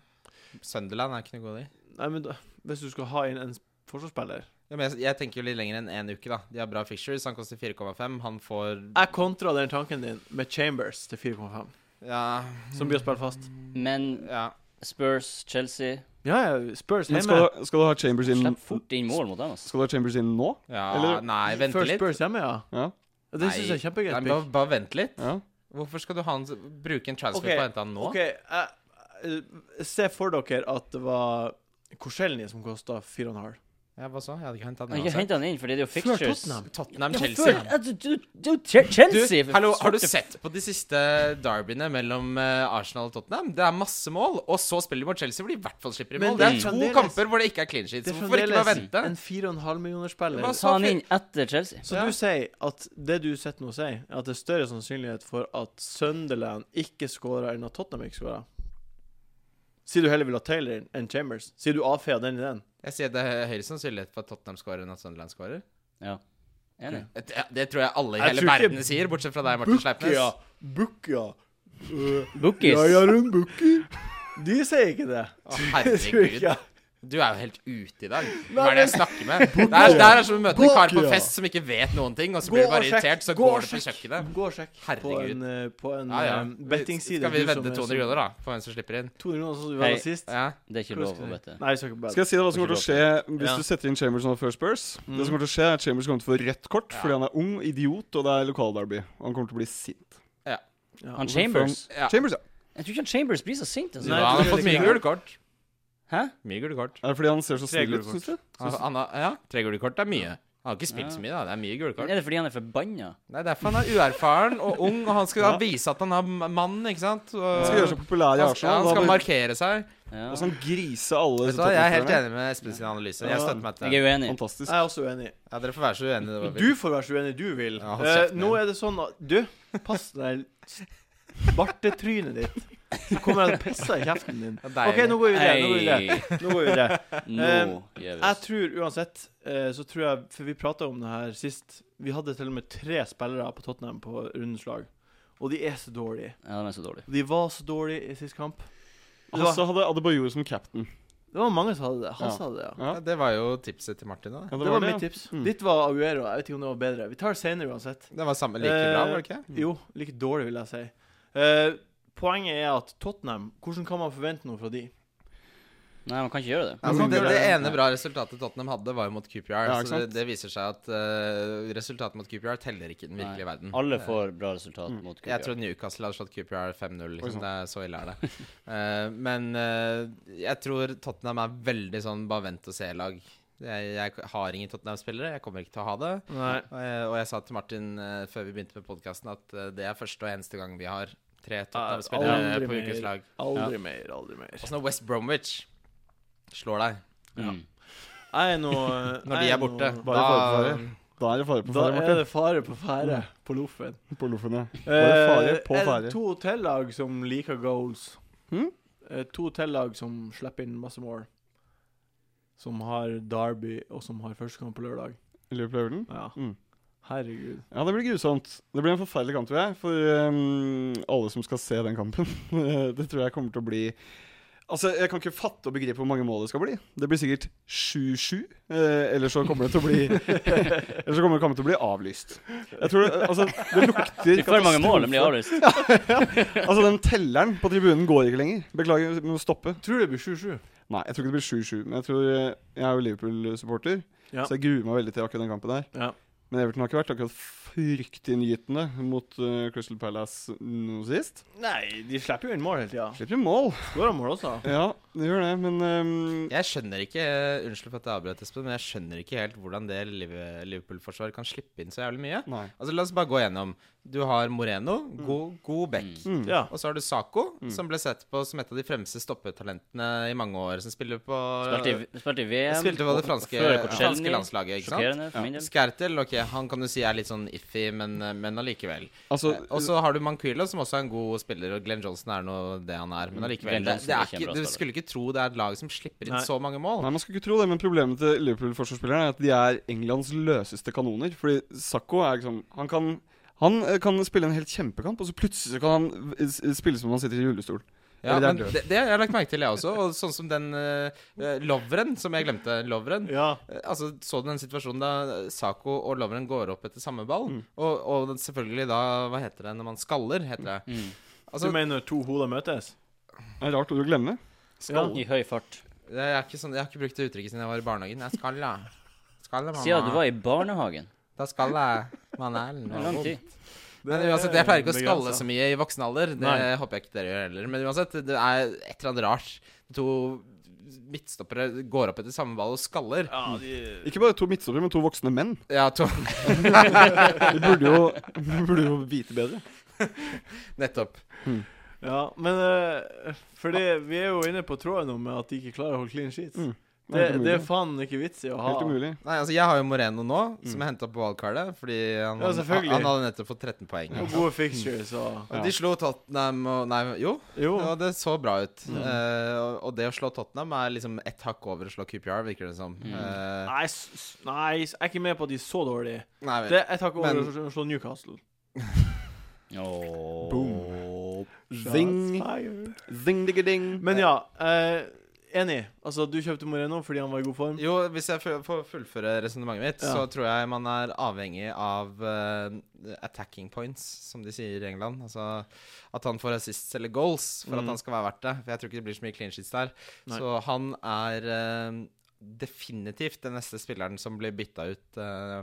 Speaker 4: Sunderland er ikke noe god i.
Speaker 1: Nei, men da, Hvis du skal ha inn en forsvarsspiller
Speaker 4: Ja, men jeg, jeg tenker jo litt lenger enn én uke, da. De har bra Fishers, han koster 4,5. Han får
Speaker 1: Jeg kontra den tanken din med Chambers til 4,5,
Speaker 4: Ja.
Speaker 1: som blir å spille fast.
Speaker 2: Men
Speaker 4: ja.
Speaker 2: Spurs, Chelsea
Speaker 1: Ja, ja, Spurs
Speaker 3: Men
Speaker 1: hjemme.
Speaker 3: skal, du- skal du ha Chambers inn
Speaker 2: slipper fort inn mål mot dem. Altså.
Speaker 3: Skal du ha Chambers inn nå?
Speaker 4: ja
Speaker 3: Eller-
Speaker 4: Nei, vente
Speaker 1: Før
Speaker 4: litt.
Speaker 1: Spurs hjemme, ja.
Speaker 3: Ja.
Speaker 1: Ja, Det syns jeg er
Speaker 4: Nei,
Speaker 1: kjempegreit.
Speaker 4: men bare,
Speaker 1: pick.
Speaker 4: bare vent litt.
Speaker 3: ja.
Speaker 4: Hvorfor skal du ha en, bruke en transfer
Speaker 1: Ok,
Speaker 4: på å hente han nå?
Speaker 1: OK, jeg, eh, se for dere at det var Korselny som kosta 4,5.
Speaker 4: Ja, hva så? Jeg hadde ikke henta han
Speaker 2: Jeg
Speaker 4: uansett.
Speaker 2: hent han inn, fordi det er jo
Speaker 1: Før
Speaker 2: fixtures.
Speaker 1: Tottenham.
Speaker 4: Tottenham,
Speaker 2: Ja,
Speaker 4: Chelsea.
Speaker 2: før- ja, du- du- du- Che- Chelsea!
Speaker 4: Du,
Speaker 2: for
Speaker 4: hallo, har du
Speaker 2: sorte f-
Speaker 4: sett på de siste derbyene mellom eh, Arsenal og Tottenham? Det er masse mål, og så spiller de mot Chelsea, hvor de i hvert fall slipper i
Speaker 1: Men
Speaker 4: mål. Det er
Speaker 1: det er
Speaker 4: to
Speaker 1: fremdeles-
Speaker 4: kamper hvor det ikke er clean sheets.
Speaker 1: Det er
Speaker 4: Hvorfor ikke bare
Speaker 1: fremdeles
Speaker 4: vente?
Speaker 1: en 4,5 millioner spiller.
Speaker 4: Hva
Speaker 2: Ta han inn etter Chelsea.
Speaker 1: Så
Speaker 4: Ja.
Speaker 1: du sier at det du sitter nå og sier, er at det er større sannsynlighet for at Sunderland ikke scorer enn at Tottenham ikke scorer? Sier du heller vil ha Taylor inn enn Chambers? Sier du avfeier den ideen?
Speaker 4: Jeg sier det er høyere sannsynlighet for at Tottenham scorer enn at Sunderland scorer.
Speaker 2: Ja. Enig.
Speaker 4: Det, det tror jeg alle i
Speaker 1: Jeg
Speaker 4: hele
Speaker 1: tror ikke-
Speaker 4: verden sier, bortsett fra deg, Martin Sleipnes.
Speaker 1: Bukkia. Uh,
Speaker 2: Bookies.
Speaker 1: en bukki. De sier ikke det.
Speaker 4: Å,
Speaker 1: Tror ikke
Speaker 4: herregud.
Speaker 1: jeg.
Speaker 4: Du er jo helt ute i dag. Hva er det jeg snakker med? Det
Speaker 1: Bookie.
Speaker 4: er, det er som å møte en kar på
Speaker 1: Bookie, ja.
Speaker 4: fest som ikke vet noen ting, og så
Speaker 1: Gå
Speaker 4: blir du bare
Speaker 1: og sjekk.
Speaker 4: irritert, så
Speaker 1: Gå
Speaker 4: går
Speaker 1: og
Speaker 4: du på
Speaker 1: sjekk.
Speaker 4: kjøkkenet.
Speaker 1: Gå og sjekk på
Speaker 4: Herregud.
Speaker 1: en, eh, på en
Speaker 4: Ja, ja.
Speaker 1: eh, bettingside.
Speaker 4: Skal vi
Speaker 1: du som eh,
Speaker 4: vedde
Speaker 1: er
Speaker 4: 200
Speaker 1: som-
Speaker 4: kroner, da, på hvem som slipper inn?
Speaker 1: 200 kroner, sånn som vi hadde
Speaker 2: Hei.
Speaker 1: sist?
Speaker 2: Det
Speaker 4: Ja.
Speaker 2: er ikke
Speaker 1: Hvordan
Speaker 2: lov
Speaker 1: skal
Speaker 2: å
Speaker 1: vi-
Speaker 2: vite.
Speaker 1: Nei, vi skal ikke bedre.
Speaker 3: Skal jeg si deg hva som kommer til å skje hvis
Speaker 1: Ja.
Speaker 3: du setter inn Chambers nå før Spurs?
Speaker 1: Mm.
Speaker 3: Det som kommer til å skje, er at Chambers kommer til å få rødt kort
Speaker 4: Ja.
Speaker 3: fordi han er ung, idiot, og det er lokalderby. Og han kommer til å bli sint.
Speaker 1: Ja.
Speaker 2: Han Chambers
Speaker 4: Ja.
Speaker 3: Chambers, ja.
Speaker 2: Jeg tror ikke han Chambers blir så sint. Altså.
Speaker 1: Nei,
Speaker 4: ja, han har
Speaker 1: det
Speaker 4: fått
Speaker 1: er
Speaker 4: mye
Speaker 1: ikke-
Speaker 4: gule kort.
Speaker 2: Hæ?
Speaker 4: Mye gule kort.
Speaker 3: Er det fordi han ser så
Speaker 1: Tre
Speaker 3: snill ut,
Speaker 1: gullkort.
Speaker 3: syns du?
Speaker 4: Altså, han har, ja, tre gule kort er mye. Han har ikke spilt
Speaker 2: Ja.
Speaker 4: så mye, da. Det er mye gule kort.
Speaker 2: Er det fordi han er forbanna?
Speaker 4: Nei, derfor han er uerfaren og ung, og han skal
Speaker 1: Ja.
Speaker 4: vise at han er mann, ikke sant? Og,
Speaker 3: Han skal gjøre seg populær i
Speaker 4: han skal, ja,
Speaker 3: Arsenal.
Speaker 4: han
Speaker 3: da
Speaker 4: skal
Speaker 3: bare-
Speaker 4: markere seg.
Speaker 2: Ja.
Speaker 3: Og sånn grise alle
Speaker 4: Vet du hva, Jeg er helt enig med Espen sin analyse. Jeg
Speaker 1: Ja.
Speaker 4: støtter meg til
Speaker 2: Jeg er
Speaker 4: det.
Speaker 2: uenig.
Speaker 1: Jeg
Speaker 3: Fantastisk.
Speaker 1: er også uenig.
Speaker 4: Ja, dere får være så uenige. det var
Speaker 1: Du får være så uenig du vil.
Speaker 4: Ja, hold
Speaker 1: Eh,
Speaker 4: kjeften
Speaker 1: nå
Speaker 4: din.
Speaker 1: er det sånn at Du, pass deg bartetrynet ditt. Så kommer jeg og pisser i kjeften din.
Speaker 4: Det er
Speaker 1: OK,
Speaker 4: deilig.
Speaker 1: nå går vi videre. Nå går vi videre. Nå
Speaker 2: Hei,
Speaker 1: går vi videre.
Speaker 2: nå gjør vi
Speaker 1: Jeg
Speaker 2: oss.
Speaker 1: tror uansett, eh, så tror jeg For vi prata om det her sist. Vi hadde til og med tre spillere på Tottenham på rundens lag. Og de er så dårlige.
Speaker 2: Ja, den er så dårlig.
Speaker 1: Og De var så dårlige i sist kamp. Det var,
Speaker 3: Hasse hadde Adebayor som captain.
Speaker 1: det var mange som hadde det. Han
Speaker 3: Ja.
Speaker 1: sa det, ja.
Speaker 3: Ja,
Speaker 4: Ja, det var jo tipset til Martin. da
Speaker 1: Det
Speaker 3: ja,
Speaker 1: var mitt tips.
Speaker 3: Mm.
Speaker 1: Ditt var Aguero. Jeg vet ikke om det var bedre. Vi tar det senere uansett.
Speaker 4: Det var samme like bra, var det ikke?
Speaker 3: Mm.
Speaker 1: Jo, like dårlig, vil jeg si. Eh, poenget er at Tottenham Hvordan kan man forvente noe fra de?
Speaker 2: Nei, man kan ikke gjøre det.
Speaker 4: Altså,
Speaker 1: men
Speaker 4: det,
Speaker 1: det-
Speaker 4: det ene bra resultatet Tottenham hadde, var jo mot QPR.
Speaker 3: Eh, Ja, ikke
Speaker 4: så det,
Speaker 3: sant?
Speaker 4: det viser seg at eh, resultatet mot QPR teller ikke i den virkelige
Speaker 2: Nei.
Speaker 4: verden.
Speaker 2: Alle får bra resultat
Speaker 3: Mm.
Speaker 2: mot Kupia.
Speaker 4: Jeg tror Newcastle har slått QPR 5-0.
Speaker 3: Oi,
Speaker 4: Liksom.
Speaker 3: sånn.
Speaker 4: Det er så ille er det. Eh, men eh, jeg tror Tottenham er veldig sånn bare vent og se-lag. Jeg, jeg har ingen Tottenham-spillere, jeg kommer ikke til å ha det.
Speaker 1: Nei.
Speaker 4: Og jeg, og jeg sa til Martin eh, før vi begynte med podkasten, at eh, det er første og eneste gang vi har tre
Speaker 1: aldri
Speaker 4: Tottenham-spillere på
Speaker 1: mer.
Speaker 4: ukens lag.
Speaker 1: Aldri mer, aldri mer.
Speaker 4: Også når West Bromwich slår deg
Speaker 2: Mm.
Speaker 1: Jeg er nå
Speaker 4: når de
Speaker 1: jeg
Speaker 4: er borte,
Speaker 1: nå-
Speaker 3: Bare
Speaker 4: da
Speaker 3: forfare. Da er det fare
Speaker 1: Da
Speaker 3: på ferde,
Speaker 1: er
Speaker 3: Martin.
Speaker 1: det fare på ferde på loffen.
Speaker 3: På loffen, ja. Bare fare på
Speaker 1: Eh, Er
Speaker 3: ferde.
Speaker 1: det to hotellag som liker goals?
Speaker 3: Hm?
Speaker 1: Eh, To hotellag som slipper inn masse mål. Som har Derby, og som har første kamp på lørdag.
Speaker 3: Liverpool-ølen.
Speaker 1: Ja.
Speaker 3: Mm.
Speaker 1: Herregud.
Speaker 3: Ja, det blir grusomt. Det blir en forferdelig kamp, tror jeg, for ehm, alle som skal se den kampen. det tror jeg kommer til å bli Altså, Jeg kan ikke fatte og begripe hvor mange mål det skal bli. Det blir sikkert 7-7. Eh, eller så kommer det til å bli Eller så kommer det kampen til å bli avlyst. Jeg tror det, altså, det lukter
Speaker 2: De får mange mål, de blir
Speaker 3: katastrofe.
Speaker 2: avlyst.
Speaker 3: Altså, Den telleren på tribunen går ikke lenger. Beklager, vi må stoppe.
Speaker 1: Tror det blir 7-7.
Speaker 3: Nei, jeg tror ikke det blir 7-7. Men jeg tror eh, Jeg er jo Liverpool-supporter,
Speaker 1: Ja.
Speaker 3: så jeg gruer meg veldig til akkurat den kampen der.
Speaker 1: Ja.
Speaker 3: Men Everton har ikke vært akkurat fryktinngytende mot eh, Crystal Palace nå sist.
Speaker 1: Nei, de slipper jo inn mål hele tida.
Speaker 3: Slipper jo mål.
Speaker 1: Skårer mål også.
Speaker 3: Ja, det gjør det, men ehm,
Speaker 4: Jeg skjønner ikke Unnskyld for at jeg avbrøt, Espen, men jeg skjønner ikke helt hvordan det Liv- Liverpool-forsvaret kan slippe inn så jævlig mye.
Speaker 3: Nei.
Speaker 4: Altså, La oss bare gå gjennom. Du har Moreno, god, god back.
Speaker 3: Mm.
Speaker 1: Ja.
Speaker 4: Og så har du Saco,
Speaker 2: Mm.
Speaker 4: som ble sett på som et av de fremste stoppetalentene i mange år. Som spiller på
Speaker 2: Spilte i, spilte i VM.
Speaker 4: Spilte på det
Speaker 2: og-
Speaker 4: franske,
Speaker 2: før Koscielny.
Speaker 4: franske landslaget, ikke sant?
Speaker 2: Sjokkerende for min del.
Speaker 4: Skertel, ok, han kan du si er litt sånn iffy, men, men allikevel.
Speaker 3: altså
Speaker 4: Eh, Og så har du Manquillo, som også er en god spiller, og Glenn Johnson er nå det han er. Men allikevel,
Speaker 2: Mm. Glenn
Speaker 4: det,
Speaker 2: Johnson er
Speaker 4: det er
Speaker 2: ikke en
Speaker 4: ikke,
Speaker 2: bra
Speaker 4: du
Speaker 2: spiller.
Speaker 4: skulle ikke tro det er et lag som slipper inn
Speaker 1: Nei.
Speaker 4: så mange mål.
Speaker 3: Nei, Man skal ikke tro det, men problemet til Liverpool-forsvarsspillerne er at de er Englands løseste kanoner. Fordi Sakko er liksom Han kan, han eh, kan spille en helt kjempekamp, og så plutselig så kan han eh, s- spille som om han sitter i rullestol.
Speaker 4: Ja,
Speaker 3: Eller det er
Speaker 4: men
Speaker 3: død.
Speaker 4: det, det har jeg lagt merke til, jeg også. Og sånn som den uh, Lovren, som jeg glemte. Lovren.
Speaker 1: ja.
Speaker 4: Eh, Altså, Så du den situasjonen da eh, Sako og Lovren går opp etter samme ball?
Speaker 1: Mm.
Speaker 4: Og, og den- selvfølgelig da Hva heter det når man skaller? heter det
Speaker 2: Mm.
Speaker 1: Du
Speaker 4: Altså,
Speaker 1: mener to hoder møtes?
Speaker 3: Det er rart ord å glemme.
Speaker 1: Ja.
Speaker 2: I høy fart.
Speaker 4: jeg, er ikke sånn, jeg har ikke brukt det uttrykket siden jeg var i barnehagen. Jeg skalla. Skalla, mamma.
Speaker 2: Siden du var i barnehagen.
Speaker 4: Da skalla man er
Speaker 2: Det er lang tid.
Speaker 4: Men uansett, jeg pleier ikke å
Speaker 1: Begrenset.
Speaker 4: skalle så mye i voksen alder. Det
Speaker 1: Nei.
Speaker 4: håper jeg ikke dere gjør heller. Men uansett, det er et eller annet rart. To midtstoppere går opp etter samme ball og skaller.
Speaker 1: Ja, de
Speaker 3: Ikke bare to midtstoppere, men to voksne menn.
Speaker 4: Ja, to
Speaker 3: De burde jo, burde jo vite bedre.
Speaker 4: Nettopp.
Speaker 1: Ja, men eh, Fordi vi er jo inne på tråden nå med at de ikke klarer å holde clean sheets.
Speaker 3: Mm. Det
Speaker 1: Det,
Speaker 3: er helt
Speaker 1: det er
Speaker 3: umulig.
Speaker 1: faen ikke vits i å ha.
Speaker 3: Helt umulig.
Speaker 4: Nei, altså Jeg har jo Moreno nå, som jeg henta på wildcardet. Fordi han,
Speaker 1: Mm. Ja,
Speaker 4: han,
Speaker 1: selvfølgelig.
Speaker 4: han hadde nettopp fått 13 poeng.
Speaker 1: Og gode fixtures og
Speaker 4: Og De slo Tottenham og Nei, jo.
Speaker 1: Jo.
Speaker 4: Ja, det så bra ut. Eh, og, og det å slå Tottenham er liksom ett hakk over å slå QPR, virker det som. Eh,
Speaker 1: Nei, s- s- nei, s- jeg er ikke med på at de er så dårlige.
Speaker 4: nei,
Speaker 1: Det, jeg tar ikke
Speaker 4: Men-
Speaker 1: over å slå Newcastle.
Speaker 2: Åh.
Speaker 3: Boom.
Speaker 1: Shots
Speaker 3: Zing.
Speaker 1: fired.
Speaker 3: Zing, digga, ding.
Speaker 1: Men ja, eh, enig. Altså, du kjøpte Moreno fordi han var i god form.
Speaker 4: Jo, hvis jeg fu- får fullføre resonnementet mitt,
Speaker 1: Ja.
Speaker 4: så tror jeg man er avhengig av eh, attacking points, som de sier i England. Altså at han får assists eller goals for
Speaker 1: Mm.
Speaker 4: at han skal være verdt det. For jeg tror ikke det blir så mye clean sheets der.
Speaker 1: Nei.
Speaker 4: Så han er eh, definitivt den neste spilleren som blir bytta ut eh,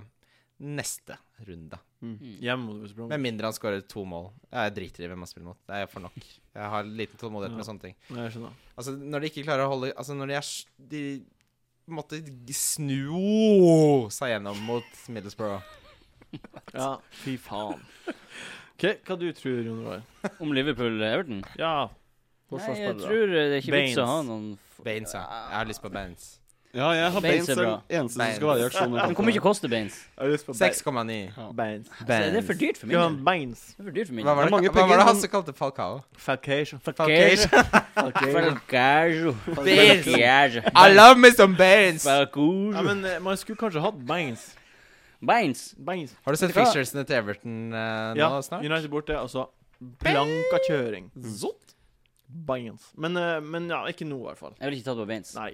Speaker 4: neste runde.
Speaker 1: Mm. Hjemme mot West Brom.
Speaker 4: Med mindre han skårer to mål. Jeg driter i hvem han spiller mot. Det er for nok. Jeg har liten tålmodighet med
Speaker 1: Ja.
Speaker 4: sånne ting.
Speaker 1: Nei, jeg skjønner.
Speaker 4: Altså, når de ikke klarer å holde Altså, når de er s- De måtte snu seg gjennom mot Middlesbrough.
Speaker 1: Ja, fy faen. OK, hva du tror Jon Roar?
Speaker 2: Om Liverpool-Everton?
Speaker 1: Ja,
Speaker 2: Nei, jeg
Speaker 1: forsvarsspillere.
Speaker 2: tror eh, det er ikke vits å
Speaker 1: Baines.
Speaker 2: ha noen f-
Speaker 4: Baines, ja. Jeg har lyst på Baines.
Speaker 3: Ja, jeg har
Speaker 2: Baines
Speaker 3: Baines
Speaker 2: er
Speaker 3: er den
Speaker 2: bra.
Speaker 3: eneste som
Speaker 4: Baines.
Speaker 3: skal være i aksjon. i
Speaker 2: Han kommer ikke
Speaker 3: kampen.
Speaker 2: å koste Baines.
Speaker 1: Jeg har lyst på
Speaker 4: 6,9.
Speaker 1: Be- Beins.
Speaker 2: Altså, det er for dyrt for min del.
Speaker 1: Beins.
Speaker 2: Det er for dyrt for min
Speaker 4: Hva
Speaker 2: del.
Speaker 4: var det,
Speaker 3: mange
Speaker 4: hva var
Speaker 3: penger,
Speaker 4: det han
Speaker 3: men-
Speaker 4: som kalte Falcao?
Speaker 1: Falcation.
Speaker 2: Falcao.
Speaker 1: Falcation.
Speaker 2: Falcao.
Speaker 4: Baines.
Speaker 2: Falcao.
Speaker 4: I love me some Baines!
Speaker 1: Ja,
Speaker 2: Falcao.
Speaker 1: men eh, man skulle kanskje hatt Beins.
Speaker 2: Baines.
Speaker 1: Beins.
Speaker 4: Har du sett
Speaker 2: Hva?
Speaker 4: fixturesene til Everton eh, nå
Speaker 1: Ja,
Speaker 4: snart?
Speaker 1: United borte, altså blanka kjøring.
Speaker 4: Zott.
Speaker 1: Beins. Men, eh, men ja, ikke nå, i hvert fall.
Speaker 2: Jeg vil ikke ta det på Baines.
Speaker 1: Nei.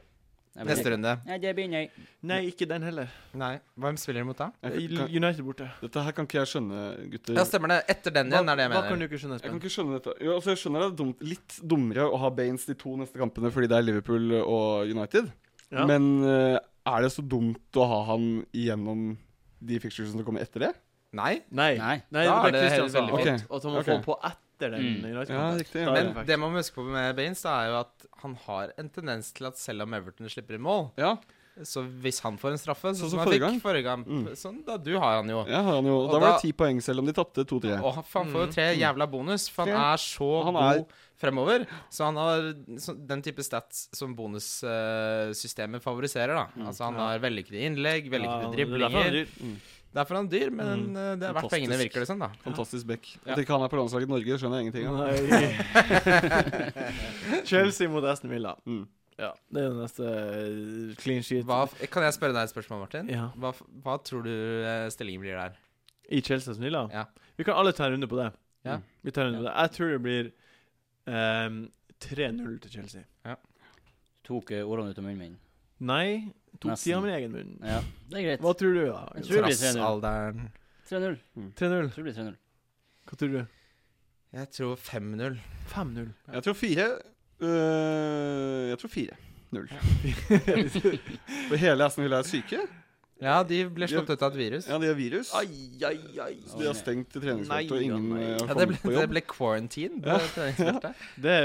Speaker 2: Jeg vil
Speaker 4: Neste
Speaker 2: ikke.
Speaker 4: runde.
Speaker 2: Nei, det begynner jeg.
Speaker 1: Nei, ikke den heller.
Speaker 4: Nei. Hvem spiller de mot da?
Speaker 3: Jeg kan- kan-
Speaker 1: United borte.
Speaker 3: Dette her kan ikke jeg skjønne, gutter.
Speaker 4: Ja, stemmer det. Etter den igjen er det jeg
Speaker 1: Hva kan
Speaker 4: mener.
Speaker 1: du ikke skjønne,
Speaker 3: Jeg kan
Speaker 1: Espen?
Speaker 3: ikke skjønne dette. Jo, altså, jeg skjønner det er dumt, litt dummere å ha Baines de to neste kampene fordi det er Liverpool og United.
Speaker 1: Ja.
Speaker 3: Men eh, er det så dumt å ha han gjennom de fixturesene som kommer etter det?
Speaker 4: Nei,
Speaker 1: Nei.
Speaker 2: Nei.
Speaker 1: Nei, det
Speaker 4: Da er
Speaker 1: er
Speaker 4: det
Speaker 1: Christian
Speaker 4: helt
Speaker 1: sa.
Speaker 4: veldig
Speaker 3: fint.
Speaker 1: At, at han må
Speaker 3: Ok.
Speaker 1: få på etter den
Speaker 2: Mm.
Speaker 3: Ja,
Speaker 1: United-kampen.
Speaker 3: riktig.
Speaker 1: Da er
Speaker 4: men
Speaker 1: det
Speaker 4: det man må huske på med Baines, da er jo at han har en tendens til at selv om Everton slipper inn mål,
Speaker 3: Ja,
Speaker 4: så hvis han får en straffe Sånn som
Speaker 3: Sånn som
Speaker 4: han fikk
Speaker 3: forrige gang.
Speaker 4: forrige gang.
Speaker 3: Mm.
Speaker 4: Sånn, da du har han jo.
Speaker 3: jeg har han jo.
Speaker 4: Og
Speaker 3: Da var
Speaker 4: da-
Speaker 3: det ti poeng, selv om de tapte 2-3.
Speaker 4: Og han, for han får jo tre jævla bonus, for han
Speaker 3: Tre.
Speaker 4: er så
Speaker 3: Han er-
Speaker 4: god fremover. Så han har så, den type stats som bonussystemet favoriserer, da. Altså han har vellykkede innlegg, vellykkede
Speaker 1: Ja, det er derfor han er
Speaker 4: driblinger.
Speaker 1: dyr.
Speaker 4: Derfor er han dyr, men
Speaker 1: Mm.
Speaker 4: eh, det er verdt
Speaker 3: Fantastisk.
Speaker 4: pengene, virker det som, da.
Speaker 3: Fantastisk back.
Speaker 4: Ja.
Speaker 3: At ikke han er på landslaget i Norge, skjønner jeg ingenting av.
Speaker 1: Nei. Chelsea mot Aston Villa.
Speaker 3: Mm.
Speaker 1: Ja, det er jo neste eh, clean sheet.
Speaker 4: Hva, f- kan jeg spørre deg et spørsmål, Martin?
Speaker 1: Ja.
Speaker 4: Hva, f- hva tror du eh, stillingen blir der?
Speaker 1: I Chelsea Aston Villa?
Speaker 4: Ja.
Speaker 1: Vi kan alle ta en runde på det.
Speaker 4: Ja.
Speaker 1: Vi tar en runde på det. Jeg tror det blir ehm, 3-0 til Chelsea.
Speaker 2: Tok eh, ordene ut av munnen min.
Speaker 1: Nei, tok
Speaker 2: Nesten.
Speaker 1: tida min egen munn.
Speaker 2: Ja, det er greit.
Speaker 1: Hva Mm. tror du, da?
Speaker 2: Jeg tror det blir 3-0.
Speaker 4: Trassalderen
Speaker 2: 3-0.
Speaker 1: 3-0.
Speaker 2: Jeg tror det blir 3-0.
Speaker 1: Hva tror du?
Speaker 4: Jeg tror 5-0.
Speaker 1: 5-0.
Speaker 3: Jeg tror fire. øh, jeg tror fire. Null. For hele Aston Villa er syke.
Speaker 4: Ja, de blir slått ut av et virus.
Speaker 3: Ja, de har virus.
Speaker 1: Ai, ai, ai.
Speaker 3: Så de har stengt treningsfeltet,
Speaker 1: Nei,
Speaker 3: og
Speaker 1: ja,
Speaker 3: ingen
Speaker 1: nei.
Speaker 3: øh, har
Speaker 4: Ja, det
Speaker 3: kommet
Speaker 4: ble,
Speaker 3: på
Speaker 4: det
Speaker 3: jobb.
Speaker 4: ble quarantine på
Speaker 3: Ja.
Speaker 4: treningsfeltet.
Speaker 1: Det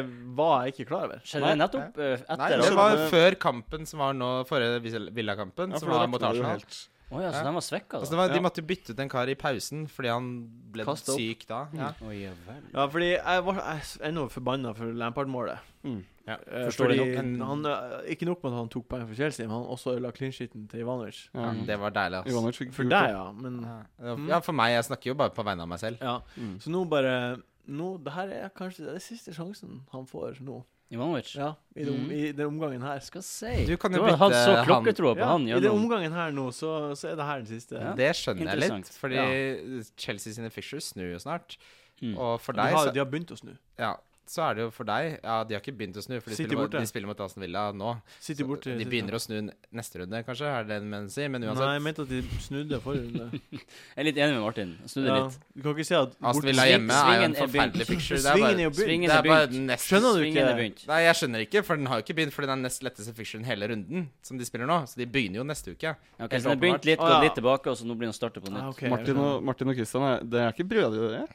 Speaker 1: var jeg ikke klar over.
Speaker 2: Skjedde det
Speaker 4: Nei.
Speaker 2: nettopp? eh,
Speaker 4: Nei,
Speaker 2: Etter?
Speaker 3: det
Speaker 4: det
Speaker 2: altså?
Speaker 3: skjedde-
Speaker 4: var
Speaker 3: med-
Speaker 4: før kampen som var nå, forrige Vis- Villa-kampen,
Speaker 3: Ja, for
Speaker 4: som
Speaker 3: da
Speaker 4: var
Speaker 3: rakna
Speaker 4: mot
Speaker 3: det jo
Speaker 4: Arsenal.
Speaker 3: helt.
Speaker 2: Å ja, så
Speaker 4: Ja.
Speaker 2: den var svekka,
Speaker 4: Altså,
Speaker 2: da?
Speaker 4: det var,
Speaker 3: Ja.
Speaker 4: De måtte bytte ut en kar i pausen fordi han ble
Speaker 1: Kastet opp. Mm. Eh,
Speaker 4: syk da. Ja.
Speaker 2: Å ja vel.
Speaker 1: Ja, fordi jeg var jeg er ennå forbanna for Lampard-målet.
Speaker 3: Mm.
Speaker 4: Ja,
Speaker 1: Eh,
Speaker 4: forstår
Speaker 1: fordi
Speaker 4: det nok, Mm. men-
Speaker 1: han, eh, Ikke nok med at han tok poeng for Chelsea, men han også ødela clean-sheeten til Ivanovic.
Speaker 3: Ja.
Speaker 4: Ja, det var deilig, altså.
Speaker 3: Ivanovic fikk
Speaker 1: For
Speaker 3: gult,
Speaker 1: deg,
Speaker 3: da.
Speaker 1: ja, men
Speaker 4: Ja, det var- ja, for meg. Jeg snakker jo bare på vegne av meg selv.
Speaker 1: Ja.
Speaker 3: Mm.
Speaker 1: Så nå bare Nå, det her er kanskje den siste sjansen han får nå.
Speaker 2: Ivanovic?
Speaker 1: Ja, I, den-
Speaker 2: Mhm.
Speaker 1: i den omgangen her.
Speaker 2: Skal si.
Speaker 4: Du kan jo
Speaker 2: har hatt
Speaker 4: bytte
Speaker 2: så
Speaker 4: han-
Speaker 2: klokketroa på
Speaker 1: Ja,
Speaker 2: han
Speaker 1: I den
Speaker 2: gjennom
Speaker 1: omgangen her nå, så, så er det her den siste.
Speaker 2: Ja.
Speaker 4: Det skjønner jeg litt,
Speaker 2: Interessant.
Speaker 4: fordi Chelsea sine Fishers snur jo snart.
Speaker 2: Mm.
Speaker 4: Og for
Speaker 1: De,
Speaker 4: deg,
Speaker 1: har,
Speaker 4: så,
Speaker 1: de har begynt å snu.
Speaker 4: ja, så er det jo for deg Ja, de har ikke begynt å snu, for de
Speaker 1: City
Speaker 4: spiller, mot,
Speaker 1: borte.
Speaker 4: de spiller mot Aston Villa nå.
Speaker 1: City borte.
Speaker 4: De begynner å snu n- neste runde, kanskje, er det det du mener å si? Men
Speaker 1: Nei, jeg
Speaker 4: uansett,
Speaker 1: mente at de snudde forrige runde.
Speaker 2: Jeg er litt enig med Martin. Snudde
Speaker 1: Ja,
Speaker 2: litt.
Speaker 1: Du kan ikke si at
Speaker 4: Aston
Speaker 1: borte-
Speaker 4: Villa
Speaker 2: Sving-
Speaker 4: hjemme er jo en
Speaker 2: svingen er begynt.
Speaker 4: forferdelig picture. Det er
Speaker 1: Svingen er
Speaker 4: bare,
Speaker 1: jo begynt.
Speaker 2: Svingen
Speaker 4: det
Speaker 2: er
Speaker 4: er bare
Speaker 2: begynt.
Speaker 4: den nest
Speaker 1: Skjønner du
Speaker 2: Svingen
Speaker 1: ikke?
Speaker 2: er begynt.
Speaker 4: Nei, jeg skjønner ikke, for den har jo ikke begynt, for den er nest letteste fixturen hele runden som de spiller nå. Så de begynner jo neste uke.
Speaker 2: Ok,
Speaker 4: Helt
Speaker 2: så den
Speaker 4: åpenbart.
Speaker 2: begynte litt,
Speaker 1: Å, ja.
Speaker 2: gått litt tilbake, og så nå blir den startet på
Speaker 1: Ah,
Speaker 2: nytt.
Speaker 1: ok, jeg
Speaker 3: Martin,
Speaker 1: skjønner.
Speaker 3: og, Martin og Christian, er, det er ikke brødre, dere.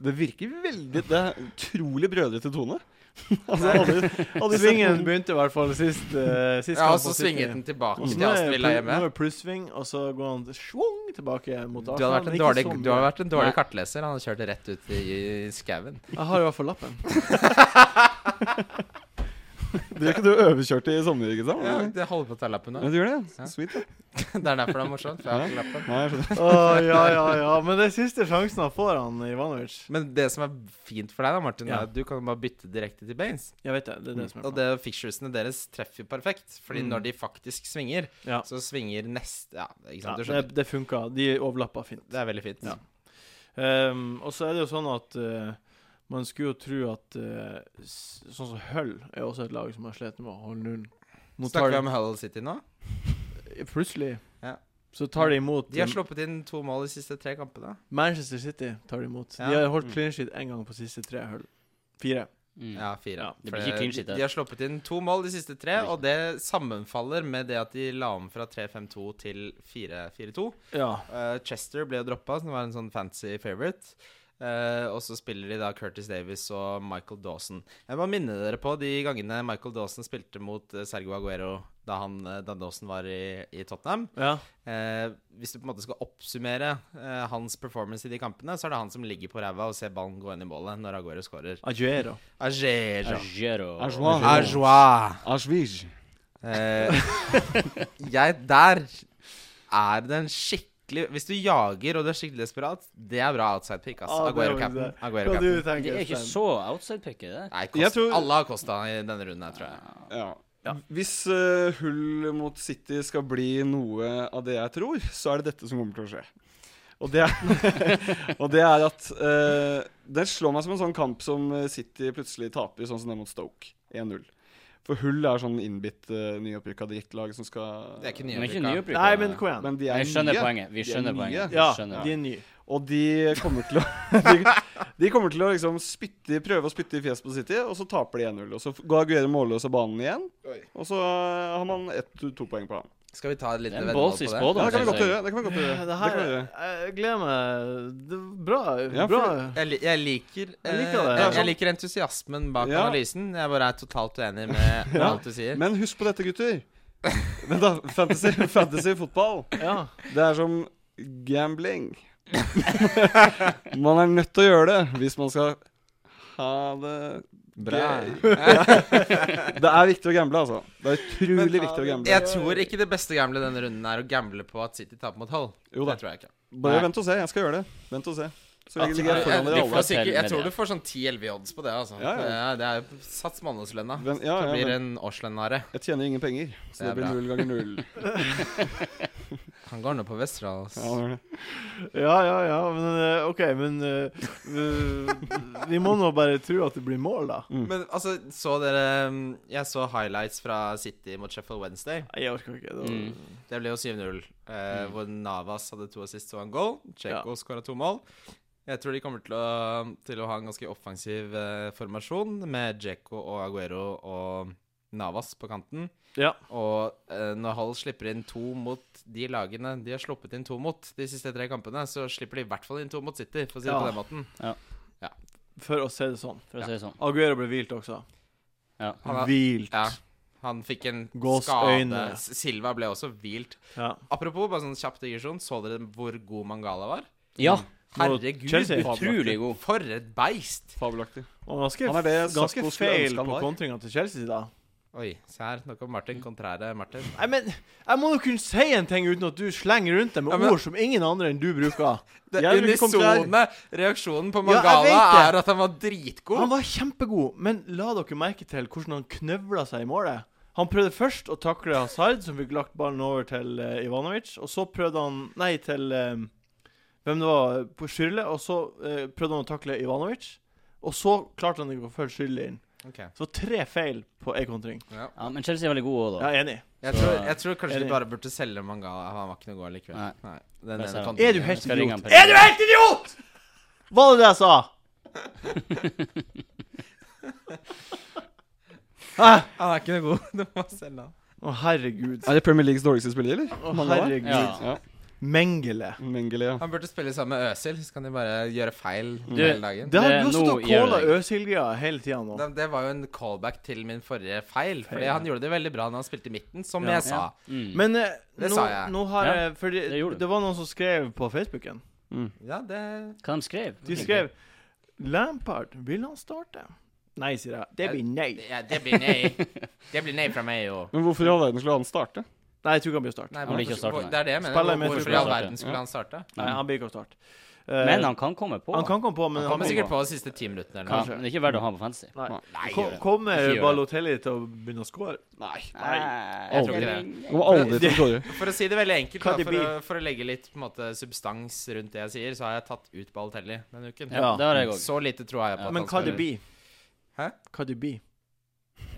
Speaker 3: Det virker veldig Det er utrolig brødre til Tone. altså, aldri, aldri
Speaker 1: Svingen begynte i hvert fall sist. eh, sist
Speaker 4: Ja,
Speaker 1: kamp
Speaker 4: og så
Speaker 1: mot City.
Speaker 4: svinget den tilbake
Speaker 1: Og så
Speaker 4: til
Speaker 1: Mm. nå er
Speaker 4: Aston Villa
Speaker 1: plu- Nå
Speaker 4: hjemme.
Speaker 1: er det plussving, og så går han schwung tilbake mot
Speaker 4: Du har vært
Speaker 1: men
Speaker 4: en
Speaker 1: ikke sånn.
Speaker 4: dårlig,
Speaker 1: så mye.
Speaker 4: du har vært en dårlig
Speaker 2: Nei.
Speaker 4: kartleser. Han har kjørt det rett ut i, i skauen.
Speaker 1: Jeg har i hvert fall lappen.
Speaker 3: Blir ikke du overkjørt i sommer, ikke sant?
Speaker 4: Ja, det holder på å ta lappen
Speaker 3: Ja,
Speaker 4: nå.
Speaker 3: du gjør det?
Speaker 4: Ja.
Speaker 3: ja. Sweet. da.
Speaker 4: Det er derfor det er morsomt. For jeg har ikke lappen.
Speaker 3: Nei, jeg skjønner.
Speaker 1: Å, ja, ja, ja. Men det er siste sjansen han får, han Ivanovic.
Speaker 4: Men det som er fint for deg, da, Martin,
Speaker 1: Ja.
Speaker 4: er at du kan bare bytte direkte til Baines.
Speaker 1: Jeg vet det. Det er det som er
Speaker 4: Og det fixturesene deres treffer jo perfekt. Fordi
Speaker 1: Mm.
Speaker 4: når de faktisk svinger,
Speaker 1: Ja.
Speaker 4: så svinger neste Ja,
Speaker 1: Ja,
Speaker 4: ikke sant? Du
Speaker 1: det,
Speaker 4: skjønner.
Speaker 1: det funka. De overlappa fint.
Speaker 4: Det er veldig fint.
Speaker 1: Ja. Ehm, og så er det jo sånn at eh, man skulle jo tro at eh, s- Sånn som Hull er også et lag som har slitt med å holde nullen. Nå tar
Speaker 4: Snakker vi
Speaker 1: de
Speaker 4: om Hull City nå?
Speaker 1: Plutselig
Speaker 4: Ja.
Speaker 1: så tar de imot
Speaker 4: De har sluppet inn to mål de siste tre kampene.
Speaker 1: Manchester City tar de imot.
Speaker 4: Ja.
Speaker 1: De har holdt clean sheet én gang på siste tre hull. Fire.
Speaker 2: Mm.
Speaker 4: Ja, fire.
Speaker 1: Ja,
Speaker 2: det blir ikke
Speaker 4: For
Speaker 2: clean sheet,
Speaker 4: de,
Speaker 2: det.
Speaker 4: de har sluppet inn to mål de siste tre,
Speaker 2: Det blir
Speaker 4: og det sammenfaller med det at de la om fra 3-5-2 til 4-4-2.
Speaker 1: Ja.
Speaker 4: Eh, Chester ble jo droppa, som var en sånn fancy favorite. Eh, og så spiller de da Curtis Davis og Michael Dawson. Jeg må minne dere på de gangene Michael Dawson spilte mot eh, Sergio Aguero da, han, eh, da Dawson var i, i Tottenham.
Speaker 1: ja.
Speaker 4: Eh, hvis du på en måte skal oppsummere eh, hans performance i de kampene, så er det han som ligger på ræva og ser ballen gå inn i målet når Aguero scorer.
Speaker 1: Aguero.
Speaker 4: Aguero.
Speaker 2: Agero.
Speaker 3: Ajoa.
Speaker 4: Ajoa.
Speaker 3: Ashwij.
Speaker 4: Eh, jeg, der er det en skikkelig Hvis du jager og du er skikkelig desperat, det er bra outside pick. Ass.
Speaker 1: Ah, det
Speaker 4: altså, Aguero
Speaker 1: var
Speaker 4: cap'n.
Speaker 1: det.
Speaker 4: Aguero
Speaker 1: Hva du
Speaker 4: cap'n.
Speaker 1: tenker
Speaker 2: Det er ikke
Speaker 1: Stein?
Speaker 2: så outside-pick, er det?
Speaker 4: Nei,
Speaker 3: Jeg
Speaker 4: Costa-
Speaker 3: tror-
Speaker 4: Alle har Costa i denne runden her, tror jeg.
Speaker 3: Ja.
Speaker 1: Ja.
Speaker 3: Hvis eh, hull mot City skal bli noe av det jeg tror, så er det dette som kommer til å skje. Og det er, og det er at eh, Det slår meg som en sånn kamp som eh, City plutselig taper, sånn som det mot Stoke. 1-0. For hull er sånn innbitt uh, nyopprykka drittlag som skal
Speaker 4: Det er ikke
Speaker 2: Men ikke nyopprykka.
Speaker 1: Nei, men kom igjen.
Speaker 3: Men de er
Speaker 2: Jeg skjønner
Speaker 3: nye.
Speaker 2: poenget. Vi
Speaker 3: De er
Speaker 2: skjønner
Speaker 3: nye.
Speaker 2: poenget.
Speaker 1: Ja,
Speaker 2: Vi skjønner.
Speaker 1: de er nye.
Speaker 3: Og de kommer til å de, de kommer til å liksom spytte, prøve å spytte i fjeset på City, og så taper de 1-0. Og så går Aguero målløs av banen igjen,
Speaker 4: Oi.
Speaker 3: og så eh, har man ett, to poeng på han.
Speaker 4: Skal vi ta et
Speaker 2: Det
Speaker 4: lite
Speaker 2: er en
Speaker 4: veddemål
Speaker 2: ballsy
Speaker 4: på det?
Speaker 3: Ja,
Speaker 2: spådom.
Speaker 3: det kan vi
Speaker 2: synes
Speaker 3: godt
Speaker 2: jeg.
Speaker 3: gjøre. Det kan vi godt gjøre.
Speaker 1: Det
Speaker 3: Det
Speaker 1: her
Speaker 3: kan vi gjøre.
Speaker 1: Jeg gleder meg. Det er bra.
Speaker 3: Ja, for-
Speaker 1: bra.
Speaker 4: Jeg, li- jeg liker eh,
Speaker 1: Jeg
Speaker 4: jeg,
Speaker 1: liker det.
Speaker 4: jeg, liker entusiasmen bak
Speaker 3: Ja.
Speaker 4: analysen. Jeg bare er totalt uenig med
Speaker 1: Ja.
Speaker 4: alt du sier.
Speaker 3: Men husk på dette, gutter. Vent da, fantasy, fantasy fotball.
Speaker 1: Ja.
Speaker 3: Det er som gambling. man er nødt til å gjøre det hvis man skal ha det gøy. det er viktig å gamble, altså. Det er utrolig
Speaker 1: Men-
Speaker 3: viktig å gamble.
Speaker 4: Jeg tror ikke det beste gamblet denne runden er å gamble på at City taper mot Hull.
Speaker 3: Jo da.
Speaker 4: Det tror jeg ikke.
Speaker 3: Bare
Speaker 2: Nei.
Speaker 3: vent og se. Jeg skal gjøre det. Vent og se. Så
Speaker 2: At-
Speaker 3: ligger ligger Altså,
Speaker 2: Ja,
Speaker 3: jeg foran
Speaker 2: ja,
Speaker 3: dere
Speaker 2: de
Speaker 3: alle.
Speaker 2: får-
Speaker 4: Jeg, sikkert, jeg
Speaker 2: Fortell med
Speaker 4: tror du får sånn 10-11 odds på det. Altså.
Speaker 3: Ja, ja.
Speaker 4: Det er- Det er Sats månedslønna.
Speaker 3: Vent- ja,
Speaker 4: Det
Speaker 3: ja,
Speaker 4: blir
Speaker 3: men
Speaker 4: en årslønnare.
Speaker 3: jeg tjener ingen penger,
Speaker 4: Det
Speaker 3: så det
Speaker 4: er
Speaker 3: blir
Speaker 4: bra.
Speaker 3: null ganger null.
Speaker 4: Han går nå på Vesterålen.
Speaker 3: Ja, det er det.
Speaker 1: ja, ja, ja. Men eh, OK, men eh, vi- Vi må nå bare tro at det blir mål, da.
Speaker 4: Men altså, så dere mm, Jeg så highlights fra City mot Sheffield Wednesday.
Speaker 1: Nei, jeg orker ikke. Det var...
Speaker 2: Mm.
Speaker 4: Det ble jo 7-0. Eh,
Speaker 1: Mm.
Speaker 4: Hvor Navas hadde to assist og en goal. Cheko skåra to mål. Jeg tror de kommer til å, til å ha en ganske offensiv eh, formasjon med Cheko og Aguero og Navas på kanten.
Speaker 1: Ja.
Speaker 4: Og eh, når Hull slipper inn to mot de lagene de har sluppet inn to mot de siste tre kampene, så slipper de i hvert fall inn to mot City, for å si det
Speaker 1: Ja.
Speaker 4: på den måten.
Speaker 1: For å si det sånn.
Speaker 2: For å si det sånn.
Speaker 1: Aguero ble hvilt også.
Speaker 2: Ja.
Speaker 4: Han har-
Speaker 1: Hvilt.
Speaker 4: Ja. Han fikk en
Speaker 1: Gåsøyne.
Speaker 4: skade. S- Silva ble også hvilt.
Speaker 1: Ja.
Speaker 4: Apropos, bare sånn kjapp digresjon, så dere hvor god Mangala var?
Speaker 2: Ja,
Speaker 1: Mot
Speaker 4: Herregud,
Speaker 1: Chelsea.
Speaker 2: utrolig god.
Speaker 4: for et beist!
Speaker 3: Fabelaktig.
Speaker 1: Og han var ganske,
Speaker 3: Han er det
Speaker 1: ganske
Speaker 3: Sakko skulle
Speaker 1: feil
Speaker 3: ønske han
Speaker 1: på
Speaker 3: var.
Speaker 1: kontringa til Chelsea da.
Speaker 4: Oi, se her. Noe om Martin. Kontrære Martin.
Speaker 1: Nei, men jeg må jo kunne si en ting uten at du slenger rundt det med
Speaker 4: Ja, men-
Speaker 1: ord som ingen andre enn du bruker.
Speaker 4: Den
Speaker 3: Jeg vil ikke
Speaker 4: unisone reaksjonen på
Speaker 1: Ja, jeg
Speaker 4: Mangala
Speaker 1: vet det.
Speaker 4: er at han var
Speaker 1: Han
Speaker 4: dritgod.
Speaker 1: var kjempegod, men la dere merke til hvordan han knøvla seg i målet. Han prøvde først å takle Hazard, som fikk lagt ballen over til eh, Ivanovic. Og så prøvde han Nei, til eh, hvem det var, på Schürrle. Og så eh, prøvde han å takle Ivanovic. Og så klarte han ikke å følge Schürrle inn.
Speaker 4: Ok,
Speaker 1: Så tre feil på én kontring.
Speaker 4: ja.
Speaker 2: Ja, men Chelsea er veldig god òg,
Speaker 1: Jeg
Speaker 2: da.
Speaker 1: er enig.
Speaker 4: jeg,
Speaker 2: Så-
Speaker 4: tror, jeg tror kanskje
Speaker 1: Enig.
Speaker 4: de bare burde selge Mangala. Han var ikke noe god likevel.
Speaker 2: Nei.
Speaker 4: Nei. Den
Speaker 2: Jeg ser den.
Speaker 4: ene kanten-
Speaker 1: Er du
Speaker 2: Jeg
Speaker 1: helt
Speaker 2: skal ringe han
Speaker 1: idiot?
Speaker 2: på-
Speaker 1: Er du helt idiot?! Var det det jeg sa? Hæ?
Speaker 4: Han er ikke noe god. Du må selge han.
Speaker 1: Å, herregud.
Speaker 3: Er det Premier Leagues dårligste spiller, eller?
Speaker 1: Å,
Speaker 3: Mangala?
Speaker 1: herregud.
Speaker 2: Ja.
Speaker 3: Ja.
Speaker 1: Mengele.
Speaker 3: Mengele, ja.
Speaker 4: Han burde spille sammen med Øsil, så kan de bare gjøre feil
Speaker 2: Mm. Du,
Speaker 4: hele dagen.
Speaker 1: Det har
Speaker 2: Det-
Speaker 1: du også
Speaker 2: nå
Speaker 1: til å
Speaker 2: gjør
Speaker 1: calle
Speaker 2: jeg
Speaker 1: Øsil-greia hele tida nå.
Speaker 4: Det, det var jo en callback til min forrige feil,
Speaker 1: Feil,
Speaker 4: Fordi
Speaker 1: ja.
Speaker 4: han gjorde det veldig bra når han spilte i midten, som
Speaker 1: Ja.
Speaker 4: jeg sa.
Speaker 2: Mm.
Speaker 1: Men eh,
Speaker 4: Det
Speaker 1: nå,
Speaker 4: sa jeg.
Speaker 1: nå har
Speaker 2: Ja,
Speaker 1: jeg Fordi
Speaker 2: det gjorde du.
Speaker 1: det var noen som skrev på Facebooken.
Speaker 4: Ja, det
Speaker 2: Hva de skrev
Speaker 1: De skrev 'Lampard, vil han starte?' Nei, sier jeg. Det
Speaker 4: Jeg-
Speaker 1: blir nei.
Speaker 4: ja, Det blir nei. Det blir nei fra meg òg.
Speaker 3: Men hvorfor i all verden skulle han starte?
Speaker 1: Nei, jeg tror ikke han blir å starte.
Speaker 2: Han blir ikke å starte, nei.
Speaker 4: det er det jeg mener.
Speaker 1: Spiller med
Speaker 4: Hvorfor i
Speaker 1: Tuchel.
Speaker 4: all verden skulle han starte?
Speaker 1: Nei, han blir ikke å starte. Eh,
Speaker 2: Men han kan komme på.
Speaker 1: han kan komme på, men han
Speaker 4: Han kommer
Speaker 1: blir
Speaker 4: sikkert
Speaker 1: ikke
Speaker 4: på de siste ti minuttene eller
Speaker 2: Ja,
Speaker 1: Kanskje.
Speaker 2: men det er ikke verdt å ha på fancy.
Speaker 1: Nei.
Speaker 4: Nei,
Speaker 1: Ko-
Speaker 4: gjør det.
Speaker 1: Kommer
Speaker 2: Ikke gjør det.
Speaker 1: Balotelli til å begynne å score?
Speaker 3: Nei.
Speaker 2: Jeg tror ikke det.
Speaker 3: Han var aldri til å score.
Speaker 4: noe. For å si det veldig enkelt,
Speaker 1: Kan
Speaker 4: da,
Speaker 1: de
Speaker 4: for,
Speaker 1: bli-
Speaker 4: å, for å legge litt på en måte, substans rundt det jeg sier, så har jeg tatt ut Balotelli denne uken.
Speaker 2: Ja, det har jeg òg.
Speaker 4: Så lite tror jeg på
Speaker 2: Ja.
Speaker 4: at
Speaker 1: Men
Speaker 4: han
Speaker 1: hva det blir?
Speaker 4: spiller. Hæ?
Speaker 1: Hva det blir?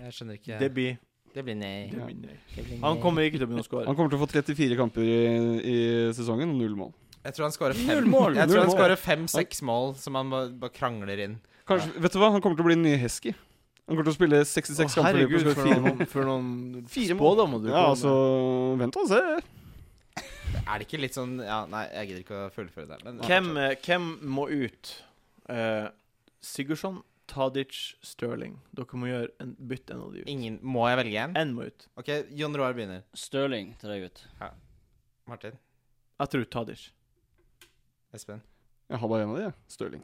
Speaker 4: Jeg skjønner ikke
Speaker 1: Det blir
Speaker 4: Det blir nei.
Speaker 1: det
Speaker 3: Ja.
Speaker 1: blir nei.
Speaker 4: Det blir
Speaker 1: Han
Speaker 4: nei.
Speaker 1: kommer ikke til å begynne å score.
Speaker 3: Han kommer til å få 34 kamper i, i sesongen og null mål.
Speaker 4: Jeg tror han skårer
Speaker 2: Null
Speaker 4: fem
Speaker 2: mål.
Speaker 4: Jeg tror
Speaker 3: Null
Speaker 4: han
Speaker 3: mål.
Speaker 4: skårer fem-seks mål som han bare bare krangler inn.
Speaker 3: Kanskje, Vet du hva? Han kommer til å bli den nye Hesky. Han kommer til å spille 66
Speaker 1: Å,
Speaker 3: kamper i
Speaker 1: herregud,
Speaker 3: Liverpool.
Speaker 1: for
Speaker 3: skåre fire mål.
Speaker 1: noen, for noen
Speaker 3: Fire mål.
Speaker 1: spådommer du
Speaker 3: Ja,
Speaker 1: kom
Speaker 3: altså
Speaker 1: med.
Speaker 3: Vent og se.
Speaker 4: Er det ikke litt sånn Ja, nei, jeg gidder ikke å fullføre det. Men
Speaker 1: Hvem, eh, hvem må ut? Eh, Sigurdsson, Tadic, Stirling. Dere må gjøre en, bytte en av de ut.
Speaker 4: Ingen, Må jeg velge en?
Speaker 1: En må ut.
Speaker 4: OK, Jon Roar begynner.
Speaker 2: Stirling til deg ut.
Speaker 4: Martin.
Speaker 1: Jeg tror Tadic.
Speaker 4: Espen.
Speaker 3: Jeg har bare en av de, jeg. Stirling.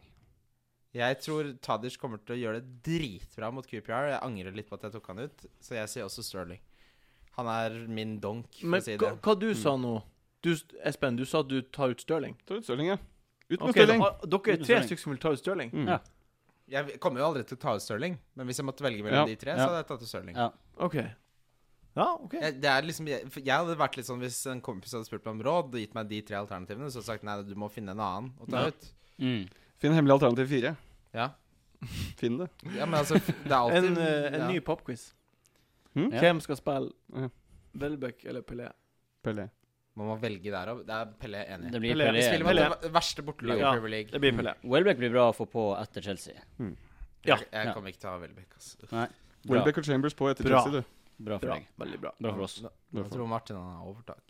Speaker 4: Jeg tror Tadic kommer til å gjøre det dritbra mot QPR. Jeg angrer litt på at jeg tok han ut, så jeg sier også Sterling. Han er min donk, for
Speaker 1: Men
Speaker 4: å si
Speaker 1: hva,
Speaker 4: det. Mm.
Speaker 1: hva du sa nå? Du, Espen, du sa at du tar ut Stirling.
Speaker 3: Ta ut Stirling, ja. Ut med
Speaker 1: Ok,
Speaker 3: Stirling.
Speaker 1: da- Dere er
Speaker 2: Uten
Speaker 1: tre
Speaker 2: Stirling.
Speaker 1: stykker som vil ta ut Stirling.
Speaker 3: Mm.
Speaker 2: Ja.
Speaker 4: Jeg kommer jo aldri til å ta ut Sterling, men hvis jeg måtte velge mellom
Speaker 3: Ja.
Speaker 4: de tre,
Speaker 2: Ja.
Speaker 4: så hadde jeg tatt ut Sterling.
Speaker 2: Ja.
Speaker 1: OK. Ja, OK.
Speaker 4: Jeg, det er liksom, jeg, for jeg hadde vært litt sånn Hvis en kompis hadde spurt meg om råd og gitt meg de tre alternativene, så hadde jeg sagt nei, du må finne en annen å ta
Speaker 1: Ja.
Speaker 4: ut.
Speaker 2: Mm.
Speaker 3: Finn hemmelig alternativ fire.
Speaker 4: Ja.
Speaker 3: Finn det.
Speaker 4: ja, men altså, det er alltid
Speaker 1: En, eh, en
Speaker 4: ja.
Speaker 1: ny popquiz.
Speaker 3: Mm?
Speaker 2: Ja.
Speaker 1: Hvem skal spille
Speaker 3: Ja.
Speaker 1: Welbeck eller Pelé?
Speaker 3: Pelé.
Speaker 4: Man må velge der òg. Det er Pelle jeg er enig i.
Speaker 2: Det blir
Speaker 1: Pelé.
Speaker 2: Pelé.
Speaker 4: Vi spiller mot
Speaker 1: Pelé.
Speaker 4: det ver- verste bortelaget
Speaker 1: Ja.
Speaker 4: i Premier League.
Speaker 1: Det blir Pelé.
Speaker 2: Welbeck blir bra å få på etter Chelsea.
Speaker 1: Ja.
Speaker 4: Jeg, jeg
Speaker 2: Ja.
Speaker 4: kommer ikke til å ha Welbeck. Altså.
Speaker 2: Bra,
Speaker 3: Welbeck og Chambers på etter
Speaker 1: Bra.
Speaker 3: Chelsea, du.
Speaker 2: bra for
Speaker 1: Bra.
Speaker 2: deg.
Speaker 1: Veldig bra.
Speaker 2: Bra for oss.
Speaker 4: Nå-
Speaker 3: Bra
Speaker 4: Jeg
Speaker 3: for
Speaker 4: tror Martin han har overtak.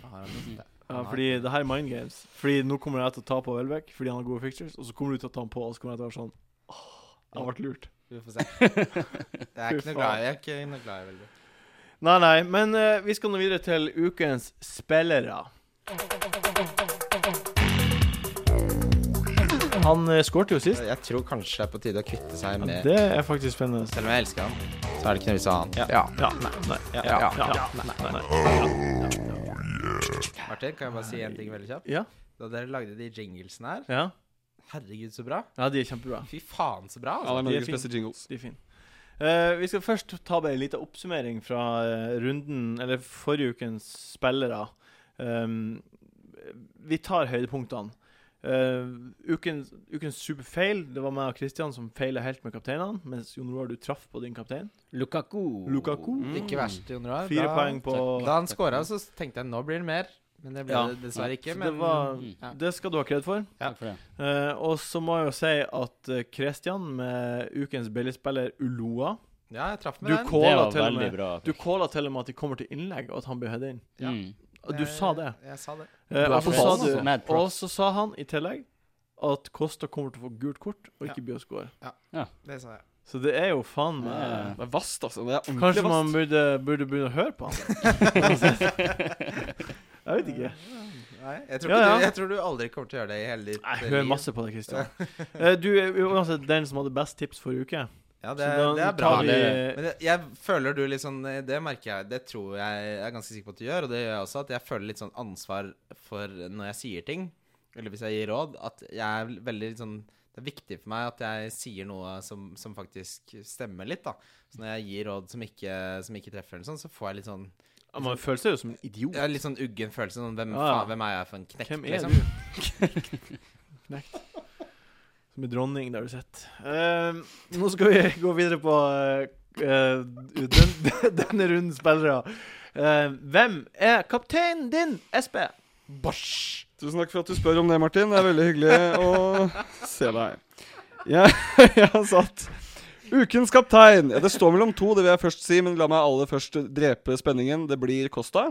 Speaker 4: Da har han mistet det.
Speaker 1: Ja,
Speaker 4: Han har-
Speaker 1: fordi det her er mind games. Fordi nå kommer jeg til å ta på Welbeck fordi han har gode fixtures, og så kommer du til å ta han på, og så kommer jeg til å være sånn Åh, jeg ble lurt.
Speaker 4: Vi får se. Jeg er ikke noe glad i Jeg er ikke noe glad i Welbeck.
Speaker 1: Nei, nei, men eh, vi skal nå videre til ukens spillere. Han uh, skårte jo sist.
Speaker 4: Jeg tror kanskje det er på tide å kvitte seg med
Speaker 1: Det er faktisk spennende.
Speaker 4: Selv om jeg elsker han, så er det ikke noe vits i å ha han.
Speaker 1: Ja, nei, nei, ja,
Speaker 4: Ja,
Speaker 1: ja,
Speaker 4: ja,
Speaker 1: ja, nei, nei.
Speaker 4: Martin, kan jeg bare si en ting veldig kjapt?
Speaker 1: Ja,
Speaker 4: Da dere lagde de jinglesene her,
Speaker 1: ja.
Speaker 4: herregud, så bra.
Speaker 1: ja, de er kjempebra.
Speaker 4: Fy faen, så bra. Altså.
Speaker 3: Ja, det
Speaker 1: De
Speaker 3: er
Speaker 1: er
Speaker 3: Norges
Speaker 1: fine.
Speaker 3: beste jingles.
Speaker 1: De er fine. Eh, vi skal først ta bare en liten oppsummering fra eh, runden, eller forrige ukens spillere. Um, vi tar høydepunktene. Eh, ukens, ukens superfeil, det var meg og Christian som feila helt med kapteinene, mens Jon Roar, du traff på din kaptein.
Speaker 2: Lukaku.
Speaker 1: Lukaku.
Speaker 4: Ikke verst, Jon Roar.
Speaker 1: Fire
Speaker 4: Da-
Speaker 1: poeng på
Speaker 4: Da han scora, så tenkte jeg nå blir det mer. Men det ble
Speaker 1: Ja.
Speaker 4: det dessverre ikke.
Speaker 1: Så
Speaker 4: Men
Speaker 1: det var
Speaker 2: Mm.
Speaker 4: ja.
Speaker 1: Det skal du ha kred for.
Speaker 2: Takk for det.
Speaker 1: Eh, og så må jeg jo si at eh, Christian med ukens billigspiller Uloa
Speaker 4: Ja, jeg traff med
Speaker 1: Du
Speaker 4: den.
Speaker 1: Kåla
Speaker 2: Det var
Speaker 1: til og
Speaker 2: veldig
Speaker 1: med.
Speaker 2: bra.
Speaker 1: Du calla til og med at de kommer til innlegg, og at han blir heada inn.
Speaker 4: Ja.
Speaker 2: Mm.
Speaker 1: Og Du sa det.
Speaker 4: Jeg, jeg sa det.
Speaker 1: Eh,
Speaker 2: Bra
Speaker 1: og, så
Speaker 2: for
Speaker 1: sa
Speaker 2: oss, altså.
Speaker 1: du,
Speaker 2: Mad props.
Speaker 1: og så sa han i tillegg at Kosta kommer til å få gult kort og ikke bli å score.
Speaker 4: Det sa jeg.
Speaker 1: Så det er jo faen
Speaker 2: Ja.
Speaker 1: meg
Speaker 3: Det er vast, altså. Det er
Speaker 1: Kanskje
Speaker 3: ordentlig
Speaker 1: man
Speaker 3: vast.
Speaker 1: burde, burde begynne å høre på han? jeg vet ikke.
Speaker 4: Nei, jeg tror,
Speaker 1: Ja,
Speaker 4: ikke
Speaker 1: ja.
Speaker 4: Du, jeg tror du aldri kommer til å gjøre det i hele ditt
Speaker 1: Jeg
Speaker 4: eh,
Speaker 1: hører
Speaker 4: liv.
Speaker 1: masse på deg, Kristian. Du er uansett den som hadde best tips forrige uke.
Speaker 4: Ja,
Speaker 1: Så
Speaker 4: det,
Speaker 1: da
Speaker 4: det er
Speaker 1: tar
Speaker 4: bra.
Speaker 1: vi-
Speaker 4: Men jeg, jeg føler du litt sånn eh, Det merker jeg. Det tror jeg jeg er ganske sikker på at du gjør, og det gjør jeg også, at jeg føler litt sånn ansvar for når jeg sier ting, eller hvis jeg gir råd, at jeg er veldig litt sånn det er viktig for meg at jeg sier noe som, som faktisk stemmer litt. da. Så Når jeg gir råd som ikke, som ikke treffer, eller sånn, så får jeg litt sånn
Speaker 1: Ja, Man føler seg jo som en idiot.
Speaker 4: jeg har litt sånn uggen følelse. Sånn, hvem,
Speaker 1: Ja, ja.
Speaker 4: faen, hvem er jeg for en knekt?
Speaker 1: Hvem er
Speaker 4: liksom?
Speaker 1: du? Knekt. Som en dronning, det har du sett. Eh, nå skal vi gå videre på eh, eh, den, denne runden spillere. Eh, hvem er kapteinen din, SB?
Speaker 4: Bosch!
Speaker 3: Tusen takk for at du spør om det, Martin. Det er veldig hyggelig å se deg. Jeg, jeg har satt Ukens kaptein. Ja, det står mellom to, det vil jeg først si, men la meg aller først drepe spenningen. Det blir Costa.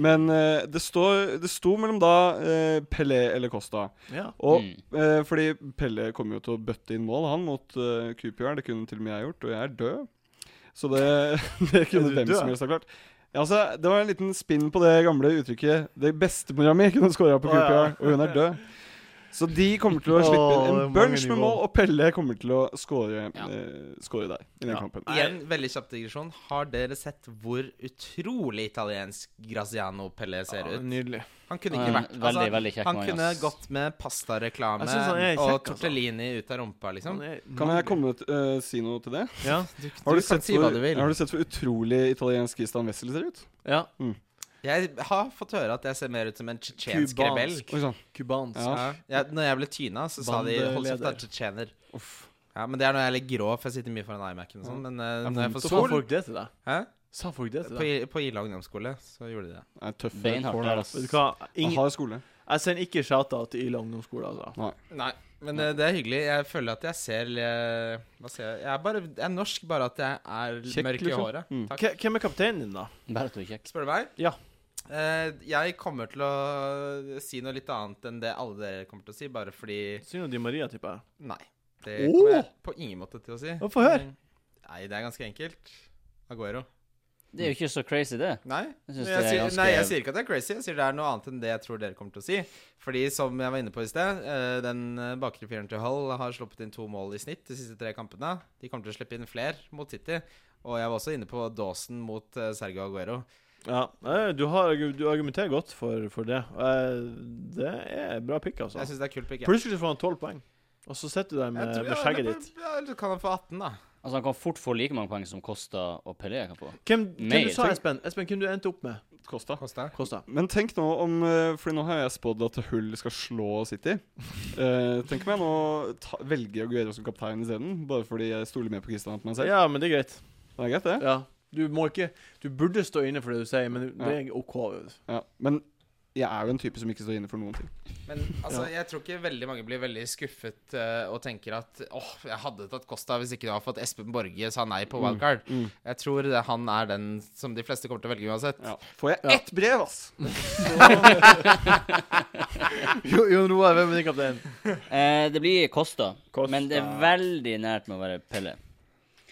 Speaker 3: Men eh, det, står, det sto mellom da eh, Pelé eller Costa.
Speaker 1: Ja.
Speaker 3: Og
Speaker 2: Mm.
Speaker 3: eh, fordi Pelle kommer jo til å bøtte inn mål, han, mot eh, QPR. Det kunne til og med jeg gjort, og jeg er død. Så det, det kunne
Speaker 1: Er du
Speaker 3: hvem
Speaker 1: død?
Speaker 3: som helst ha klart. Ja, altså, det var en liten spinn på det gamle uttrykket 'Det bestemora mi kunne skåra på
Speaker 1: Å, ja.
Speaker 3: QPR', og hun er død. Så de kommer til å
Speaker 1: Å,
Speaker 3: slippe
Speaker 1: det
Speaker 3: inn
Speaker 1: er
Speaker 3: en
Speaker 1: mange
Speaker 3: bunch med
Speaker 1: nivå.
Speaker 3: mål, og Pelle kommer til å skåre
Speaker 2: Ja.
Speaker 3: eh, skåre der i den
Speaker 1: Ja.
Speaker 3: kampen.
Speaker 4: Igjen, veldig kjapp digresjon. Har dere sett hvor utrolig italiensk Graziano Pelle ser ut?
Speaker 1: Nydelig.
Speaker 4: Han kunne
Speaker 2: Han
Speaker 4: ikke
Speaker 2: er
Speaker 4: vært altså,
Speaker 2: en veldig, veldig kjekk
Speaker 4: Han
Speaker 2: mann,
Speaker 4: kunne
Speaker 2: ass.
Speaker 4: gått med pastareklame
Speaker 1: Jeg synes han er kjekk,
Speaker 4: og
Speaker 1: altså.
Speaker 4: tortellini ut av rumpa, liksom.
Speaker 1: Han er
Speaker 3: Kan jeg
Speaker 1: nydelig.
Speaker 3: komme til, eh, si noe til det?
Speaker 1: Ja.
Speaker 4: Du,
Speaker 3: Har du,
Speaker 4: kan
Speaker 3: sett
Speaker 4: si hva
Speaker 3: hvor,
Speaker 4: du vil.
Speaker 3: har du sett hvor utrolig italiensk Istan Wessel ser ut?
Speaker 1: ja.
Speaker 4: Jeg har fått høre at jeg ser mer ut som en tsjetsjensk rebell.
Speaker 1: Kubansk.
Speaker 3: Oi sånn. sann.
Speaker 1: Kubansk.
Speaker 3: Ja.
Speaker 4: Ja, når jeg ble tyna, så sa de 'hold kjeft, da,
Speaker 1: Bandeleder.
Speaker 4: tsjetsjener'.
Speaker 3: Uff.
Speaker 4: Ja, men det er når jeg er litt grå, for jeg sitter mye foran iMac-en og sånn. Men eh,
Speaker 3: Ja,
Speaker 4: når jeg får
Speaker 1: Så sa
Speaker 4: sol
Speaker 1: folk det til deg?
Speaker 4: Hæ?
Speaker 1: Sa folk det til
Speaker 4: På,
Speaker 1: deg?
Speaker 4: I- på Ila ungdomsskole så gjorde de det.
Speaker 3: Det er tøff.
Speaker 2: Beinhardt der, ass.
Speaker 1: Vet du hva?
Speaker 3: Jeg
Speaker 1: Ingen,
Speaker 3: har skole.
Speaker 1: jeg sender ikke shata til Ila ungdomsskole, altså.
Speaker 4: Nei. Men eh, det er hyggelig. Jeg føler at jeg ser eh, Hva ser jeg Jeg er, bare, jeg er norsk, bare at jeg er
Speaker 3: Kjekk,
Speaker 4: mørk i
Speaker 3: liksom.
Speaker 4: håret.
Speaker 3: Mm.
Speaker 4: Takk.
Speaker 1: K- Hvem er kapteinen din, da?
Speaker 2: Bare at du er kjekk.
Speaker 4: Spør du meg?
Speaker 1: Ja.
Speaker 4: Eh, jeg kommer til å si noe litt annet enn det alle dere kommer til å si, bare fordi
Speaker 1: Synger Di Maria, tipper jeg.
Speaker 4: Nei. Det
Speaker 1: Åh!
Speaker 4: kommer jeg på ingen måte til å si.
Speaker 1: Ja, få høre.
Speaker 4: Nei, det er ganske enkelt. Aguero.
Speaker 2: Det er jo ikke så crazy, det.
Speaker 4: Nei.
Speaker 2: Jeg
Speaker 4: Men
Speaker 2: synes
Speaker 4: Jeg
Speaker 2: det er
Speaker 4: sier,
Speaker 2: ganske-
Speaker 4: nei, jeg sier ikke at det er crazy. Jeg sier det er noe annet enn det jeg tror dere kommer til å si. Fordi som jeg var inne på i sted, eh, den eh, bakre fireren til Hull har sluppet inn to mål i snitt de siste tre kampene. De kommer til å slippe inn flere mot City. Og jeg var også inne på Dawson mot eh, Sergio Aguero.
Speaker 1: Ja, eh, du, har, du argumenterer godt for, for det. Eh, Det er bra pick, altså.
Speaker 4: Jeg syns det er kult pick. jeg.
Speaker 1: Plutselig får han 12 poeng, og så sitter du der
Speaker 4: Jeg
Speaker 1: med,
Speaker 4: tror
Speaker 1: med
Speaker 4: jeg-
Speaker 1: skjegget
Speaker 4: eller-
Speaker 1: ditt.
Speaker 4: Ja, eller så kan han få 18, da.
Speaker 2: Altså, han kan fort få like mange poeng som Costa og Pelé kan få.
Speaker 1: Hvem, hvem
Speaker 2: Nei,
Speaker 1: du sa,
Speaker 2: tenk-
Speaker 1: Espen? Espen, Hvem du endte opp med?
Speaker 3: Kosta.
Speaker 4: Kosta.
Speaker 1: Kosta.
Speaker 3: Men tenk nå om eh, Fordi nå har jeg spådd at Hull skal slå City. Eh, tenk om jeg nå ta, velger Aguero som kaptein isteden, bare fordi jeg stoler mer på Christian enn på meg selv.
Speaker 1: Ja, men det er greit.
Speaker 3: Det er greit, det.
Speaker 1: Ja. Du må ikke Du burde stå inne for det du sier, men det er OK.
Speaker 3: Ja. Men jeg er jo en type som ikke står inne for noen ting.
Speaker 4: Men altså, jeg tror ikke veldig mange blir veldig skuffet eh, og tenker at åh, jeg hadde tatt Costa hvis ikke det var for at Espen Borge sa nei på wildcard.
Speaker 3: mm.
Speaker 4: Jeg tror det, han er den som de fleste kommer til å velge uansett.
Speaker 3: Ja. Får jeg
Speaker 1: Ja.
Speaker 3: ett brev, ass!
Speaker 1: Jo, Jon Roar, hvem er din kaptein?
Speaker 2: Eh, det blir Costa,
Speaker 1: Costa.
Speaker 2: men det er veldig nært med å være Pelle.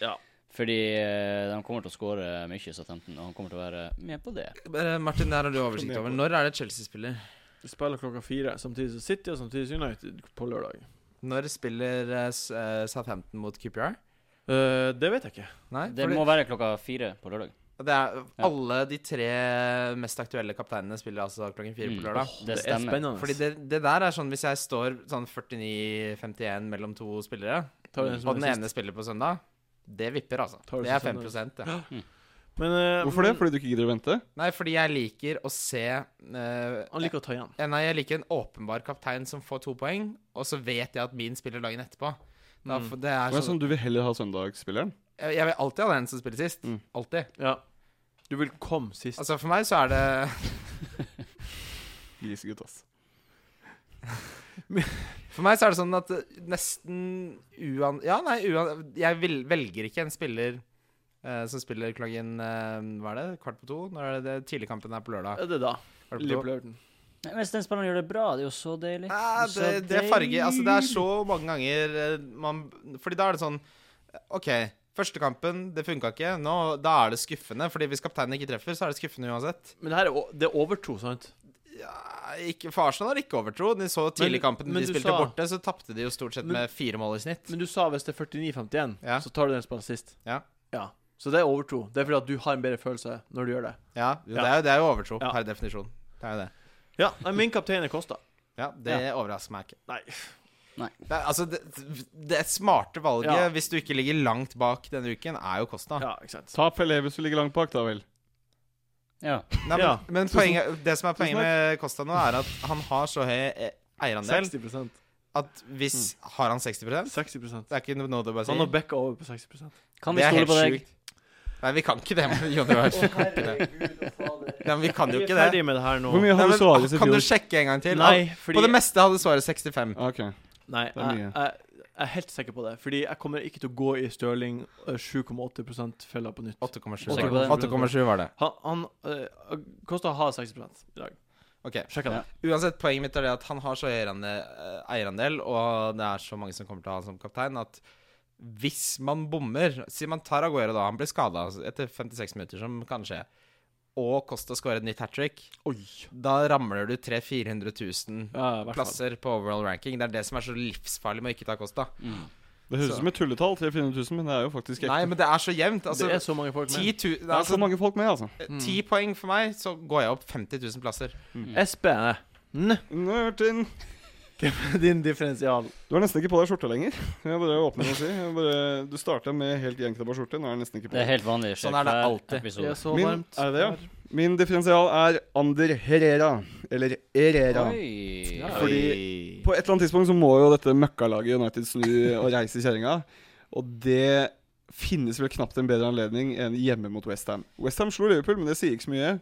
Speaker 1: Ja.
Speaker 2: Fordi eh, de kommer til å skåre mye, sa 15, og han kommer til å være med på det.
Speaker 4: Bare, Martin, der har du oversikt over. Når er det Chelsea spiller?
Speaker 1: Du spiller klokka fire, samtidig som City og samtidig som United på lørdag.
Speaker 4: Når spiller eh, S- eh, Southampton mot QPR?
Speaker 1: Eh, det vet jeg ikke.
Speaker 4: Nei,
Speaker 2: Det
Speaker 4: fordi-
Speaker 2: må være klokka fire på lørdag.
Speaker 4: det er, alle de tre mest aktuelle kapteinene spiller altså klokken fire
Speaker 2: Mm.
Speaker 4: på lørdag.
Speaker 2: Det
Speaker 1: er
Speaker 2: stemmer.
Speaker 1: spennende.
Speaker 4: Fordi det, det der er sånn hvis jeg står sånn 49-51 mellom to spillere,
Speaker 1: Tar du den som
Speaker 4: og den
Speaker 1: er sist?
Speaker 4: ene spiller på søndag, det vipper, altså.
Speaker 1: Tar du
Speaker 4: Det er
Speaker 1: som
Speaker 4: 5 ja.
Speaker 1: Men, eh,
Speaker 3: Hvorfor det?
Speaker 1: men
Speaker 3: Fordi du ikke gidder å vente?
Speaker 4: Nei, fordi jeg liker å se eh,
Speaker 1: Han liker å ta igjen.
Speaker 4: eh, Nei, jeg liker en åpenbar kaptein som får to poeng, og så vet jeg at min spiller dagen etterpå. Da,
Speaker 1: Mm.
Speaker 4: for det er
Speaker 3: Men
Speaker 4: sånn,
Speaker 3: sånn, du vil heller ha søndagsspilleren?
Speaker 4: jeg, jeg vil alltid ha den som spiller sist.
Speaker 3: Mm.
Speaker 4: Alltid.
Speaker 1: Ja. Du vil komme sist.
Speaker 4: Altså, for meg så er det
Speaker 3: Grisegutt, ass.
Speaker 4: For meg så er det sånn at eh, nesten uan... Ja, nei, uan... Jeg vil, velger ikke en spiller eh, som spiller klokken eh, Hva er det? Kvart på to? Når er det, det tidligkampen er på lørdag?
Speaker 1: er det da?
Speaker 4: Kvart på to.
Speaker 1: Liverpool-Everton.
Speaker 2: Nei, Hvis den spilleren gjør det bra, det er jo så deilig.
Speaker 4: Nei,
Speaker 2: Så
Speaker 4: det, det er farge Altså, det er så mange ganger eh, man Fordi da er det sånn OK, første kampen, det funka ikke. Nå, da er det skuffende. Fordi hvis kapteinen ikke treffer, så er det skuffende uansett.
Speaker 1: Men det her er, o- det er overtro, sant?
Speaker 4: Ja, ikke, for Arsenal har ikke overtro. De så tidlig
Speaker 1: Men-
Speaker 4: kampen
Speaker 1: men
Speaker 4: de
Speaker 1: du
Speaker 4: spilte
Speaker 1: sa-
Speaker 4: borte, så tapte de jo stort sett
Speaker 1: Men-
Speaker 4: med fire mål i snitt.
Speaker 1: Men du sa hvis det er 49-51,
Speaker 4: Ja.
Speaker 1: så tar du den spillet sist.
Speaker 4: Ja.
Speaker 1: ja. Så det er overtro. Det er fordi at du har en bedre følelse når du gjør det.
Speaker 4: Ja, jo,
Speaker 1: Ja.
Speaker 4: Det, er jo, det er jo overtro
Speaker 1: Ja.
Speaker 4: per definisjon. Det er jo det.
Speaker 1: Ja, nei, min kaptein er Kosta.
Speaker 4: Ja, det overrasker meg ikke.
Speaker 1: Nei.
Speaker 4: Det, er- altså, det, det smarte valget,
Speaker 1: Ja.
Speaker 4: hvis du ikke ligger langt bak denne uken, er jo Costa.
Speaker 1: Ja, ikke sant.
Speaker 3: Ta Pelé hvis du ligger langt bak, da vel.
Speaker 2: Ja.
Speaker 4: Nei, men,
Speaker 1: Ja.
Speaker 4: men poenget, det som er
Speaker 1: Tusen
Speaker 4: poenget med Costa nå, er at han har så høy eh, eierandel
Speaker 1: 60
Speaker 4: at hvis Har han 60
Speaker 1: 60
Speaker 4: Det er ikke noe du bare
Speaker 1: Mm. Han har
Speaker 4: sier?
Speaker 1: backa over på 60
Speaker 2: Kan vi
Speaker 4: Det er
Speaker 2: stole
Speaker 4: helt
Speaker 2: på deg?
Speaker 4: sjukt. Nei, vi kan ikke det, Jon Roar. Nei, men vi kan jo
Speaker 1: Vi er
Speaker 4: ikke det.
Speaker 1: ferdig med det her nå.
Speaker 3: Hvor mye
Speaker 4: Nei,
Speaker 3: hadde
Speaker 4: men,
Speaker 3: Suárez i
Speaker 4: kan du
Speaker 3: fjor?
Speaker 4: sjekke en gang til?
Speaker 1: Nei,
Speaker 4: På
Speaker 1: fordi
Speaker 4: det meste hadde svaret 65.
Speaker 3: Ah, Ok.
Speaker 1: Nei,
Speaker 3: Det
Speaker 1: jeg,
Speaker 3: er mye.
Speaker 1: jeg, jeg er helt sikker på det. Fordi jeg kommer ikke til å gå i Stirling eh, 7,8 fella på nytt.
Speaker 4: 8,7
Speaker 2: Sjekker på det.
Speaker 4: 8,7 var det.
Speaker 1: Han, han eh, Kosta har 60 i dag.
Speaker 4: Ok,
Speaker 1: Sjekk det.
Speaker 4: Uansett, poenget mitt er det at han har så eierande- eh, eierandel, og det er så mange som kommer til å ha han som kaptein, at hvis man bommer Si man tar Aguero da, han blir skada etter 56 minutter, som kan skje, og Costa scorer et nytt hat trick,
Speaker 1: Oi.
Speaker 4: da ramler du 300 000-400 000
Speaker 1: Ja, i hvert fall.
Speaker 4: plasser på overall ranking. Det er det som er så livsfarlig med å ikke ta Costa.
Speaker 2: Mm.
Speaker 3: Det høres
Speaker 4: Så-
Speaker 3: ut som et tulletall, 300 000, men det er jo faktisk ekte.
Speaker 4: Nei, men det er så jevnt. Altså,
Speaker 1: det er så mange folk med.
Speaker 4: 10 000
Speaker 3: det er så
Speaker 4: altså,
Speaker 3: mange folk med, altså.
Speaker 1: Mm.
Speaker 4: 10 poeng for meg, så går jeg opp 50 000 plasser.
Speaker 1: Espen, eh, n-
Speaker 3: Martin,
Speaker 1: hvem er din differensial?
Speaker 3: du har nesten ikke på deg skjorte lenger. Jeg bare åpner og sier. Jeg bare, du starta med helt gjenknabba skjorte, nå er jeg nesten ikke på.
Speaker 2: Det er helt vanlig.
Speaker 4: Sånn er det
Speaker 2: hver
Speaker 1: Det
Speaker 4: alltid.
Speaker 2: episode.
Speaker 1: er så
Speaker 3: Min-
Speaker 1: varmt.
Speaker 3: er det det, ja? Min differensial er Ander Herrera, eller Herrera.
Speaker 2: Oi.
Speaker 1: Ja.
Speaker 3: Fordi- På et eller annet tidspunkt så må jo dette møkkalaget United snu og reise i kjerringa. Og det finnes vel knapt en bedre anledning enn hjemme mot Westham. Westham slo Liverpool, men det sier ikke så mye.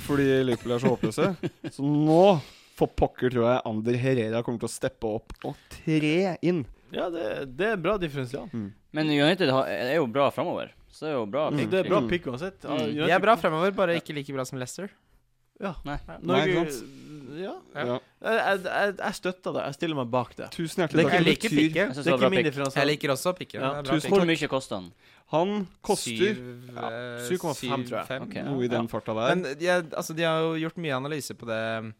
Speaker 3: Fordi Liverpool er så håpløse. Så nå For pokker tror jeg Ander Herrera kommer til å steppe opp og tre inn.
Speaker 1: Ja, det, det er bra differensial.
Speaker 2: Men United har, er jo bra framover. Så det er jo bra.
Speaker 1: Altså,
Speaker 2: pick,
Speaker 1: det er bra
Speaker 3: Mm.
Speaker 1: pick uansett. Ja,
Speaker 2: Mm.
Speaker 4: De
Speaker 1: United-
Speaker 4: er bra fremover, bare ikke like bra som Leicester.
Speaker 1: Ja.
Speaker 2: Nei.
Speaker 3: Nei,
Speaker 1: Norge
Speaker 3: ikke
Speaker 1: Ja.
Speaker 3: Ja.
Speaker 1: Jeg, jeg- jeg, jeg støtter det. Jeg stiller meg bak det.
Speaker 3: Tusen hjertelig
Speaker 1: Det
Speaker 4: Jeg
Speaker 3: takk.
Speaker 1: kan-
Speaker 4: liker
Speaker 3: betyr-
Speaker 2: Jeg
Speaker 4: pikken.
Speaker 2: synes
Speaker 1: Det
Speaker 2: det
Speaker 1: er
Speaker 2: var
Speaker 1: ikke
Speaker 2: bra
Speaker 1: min
Speaker 2: pick.
Speaker 1: differensial.
Speaker 4: Jeg liker også pikken.
Speaker 1: Ja,
Speaker 4: Det er bra
Speaker 3: tusen
Speaker 4: pick.
Speaker 2: Hvor mye koster han?
Speaker 3: Han koster
Speaker 4: Syv,
Speaker 3: ja,
Speaker 4: eh,
Speaker 1: 7,5 tror jeg.
Speaker 4: syv, fem.
Speaker 2: Ok,
Speaker 3: noe
Speaker 2: ja.
Speaker 3: i den farta der.
Speaker 4: Men de, er- altså, de har jo gjort mye analyse på det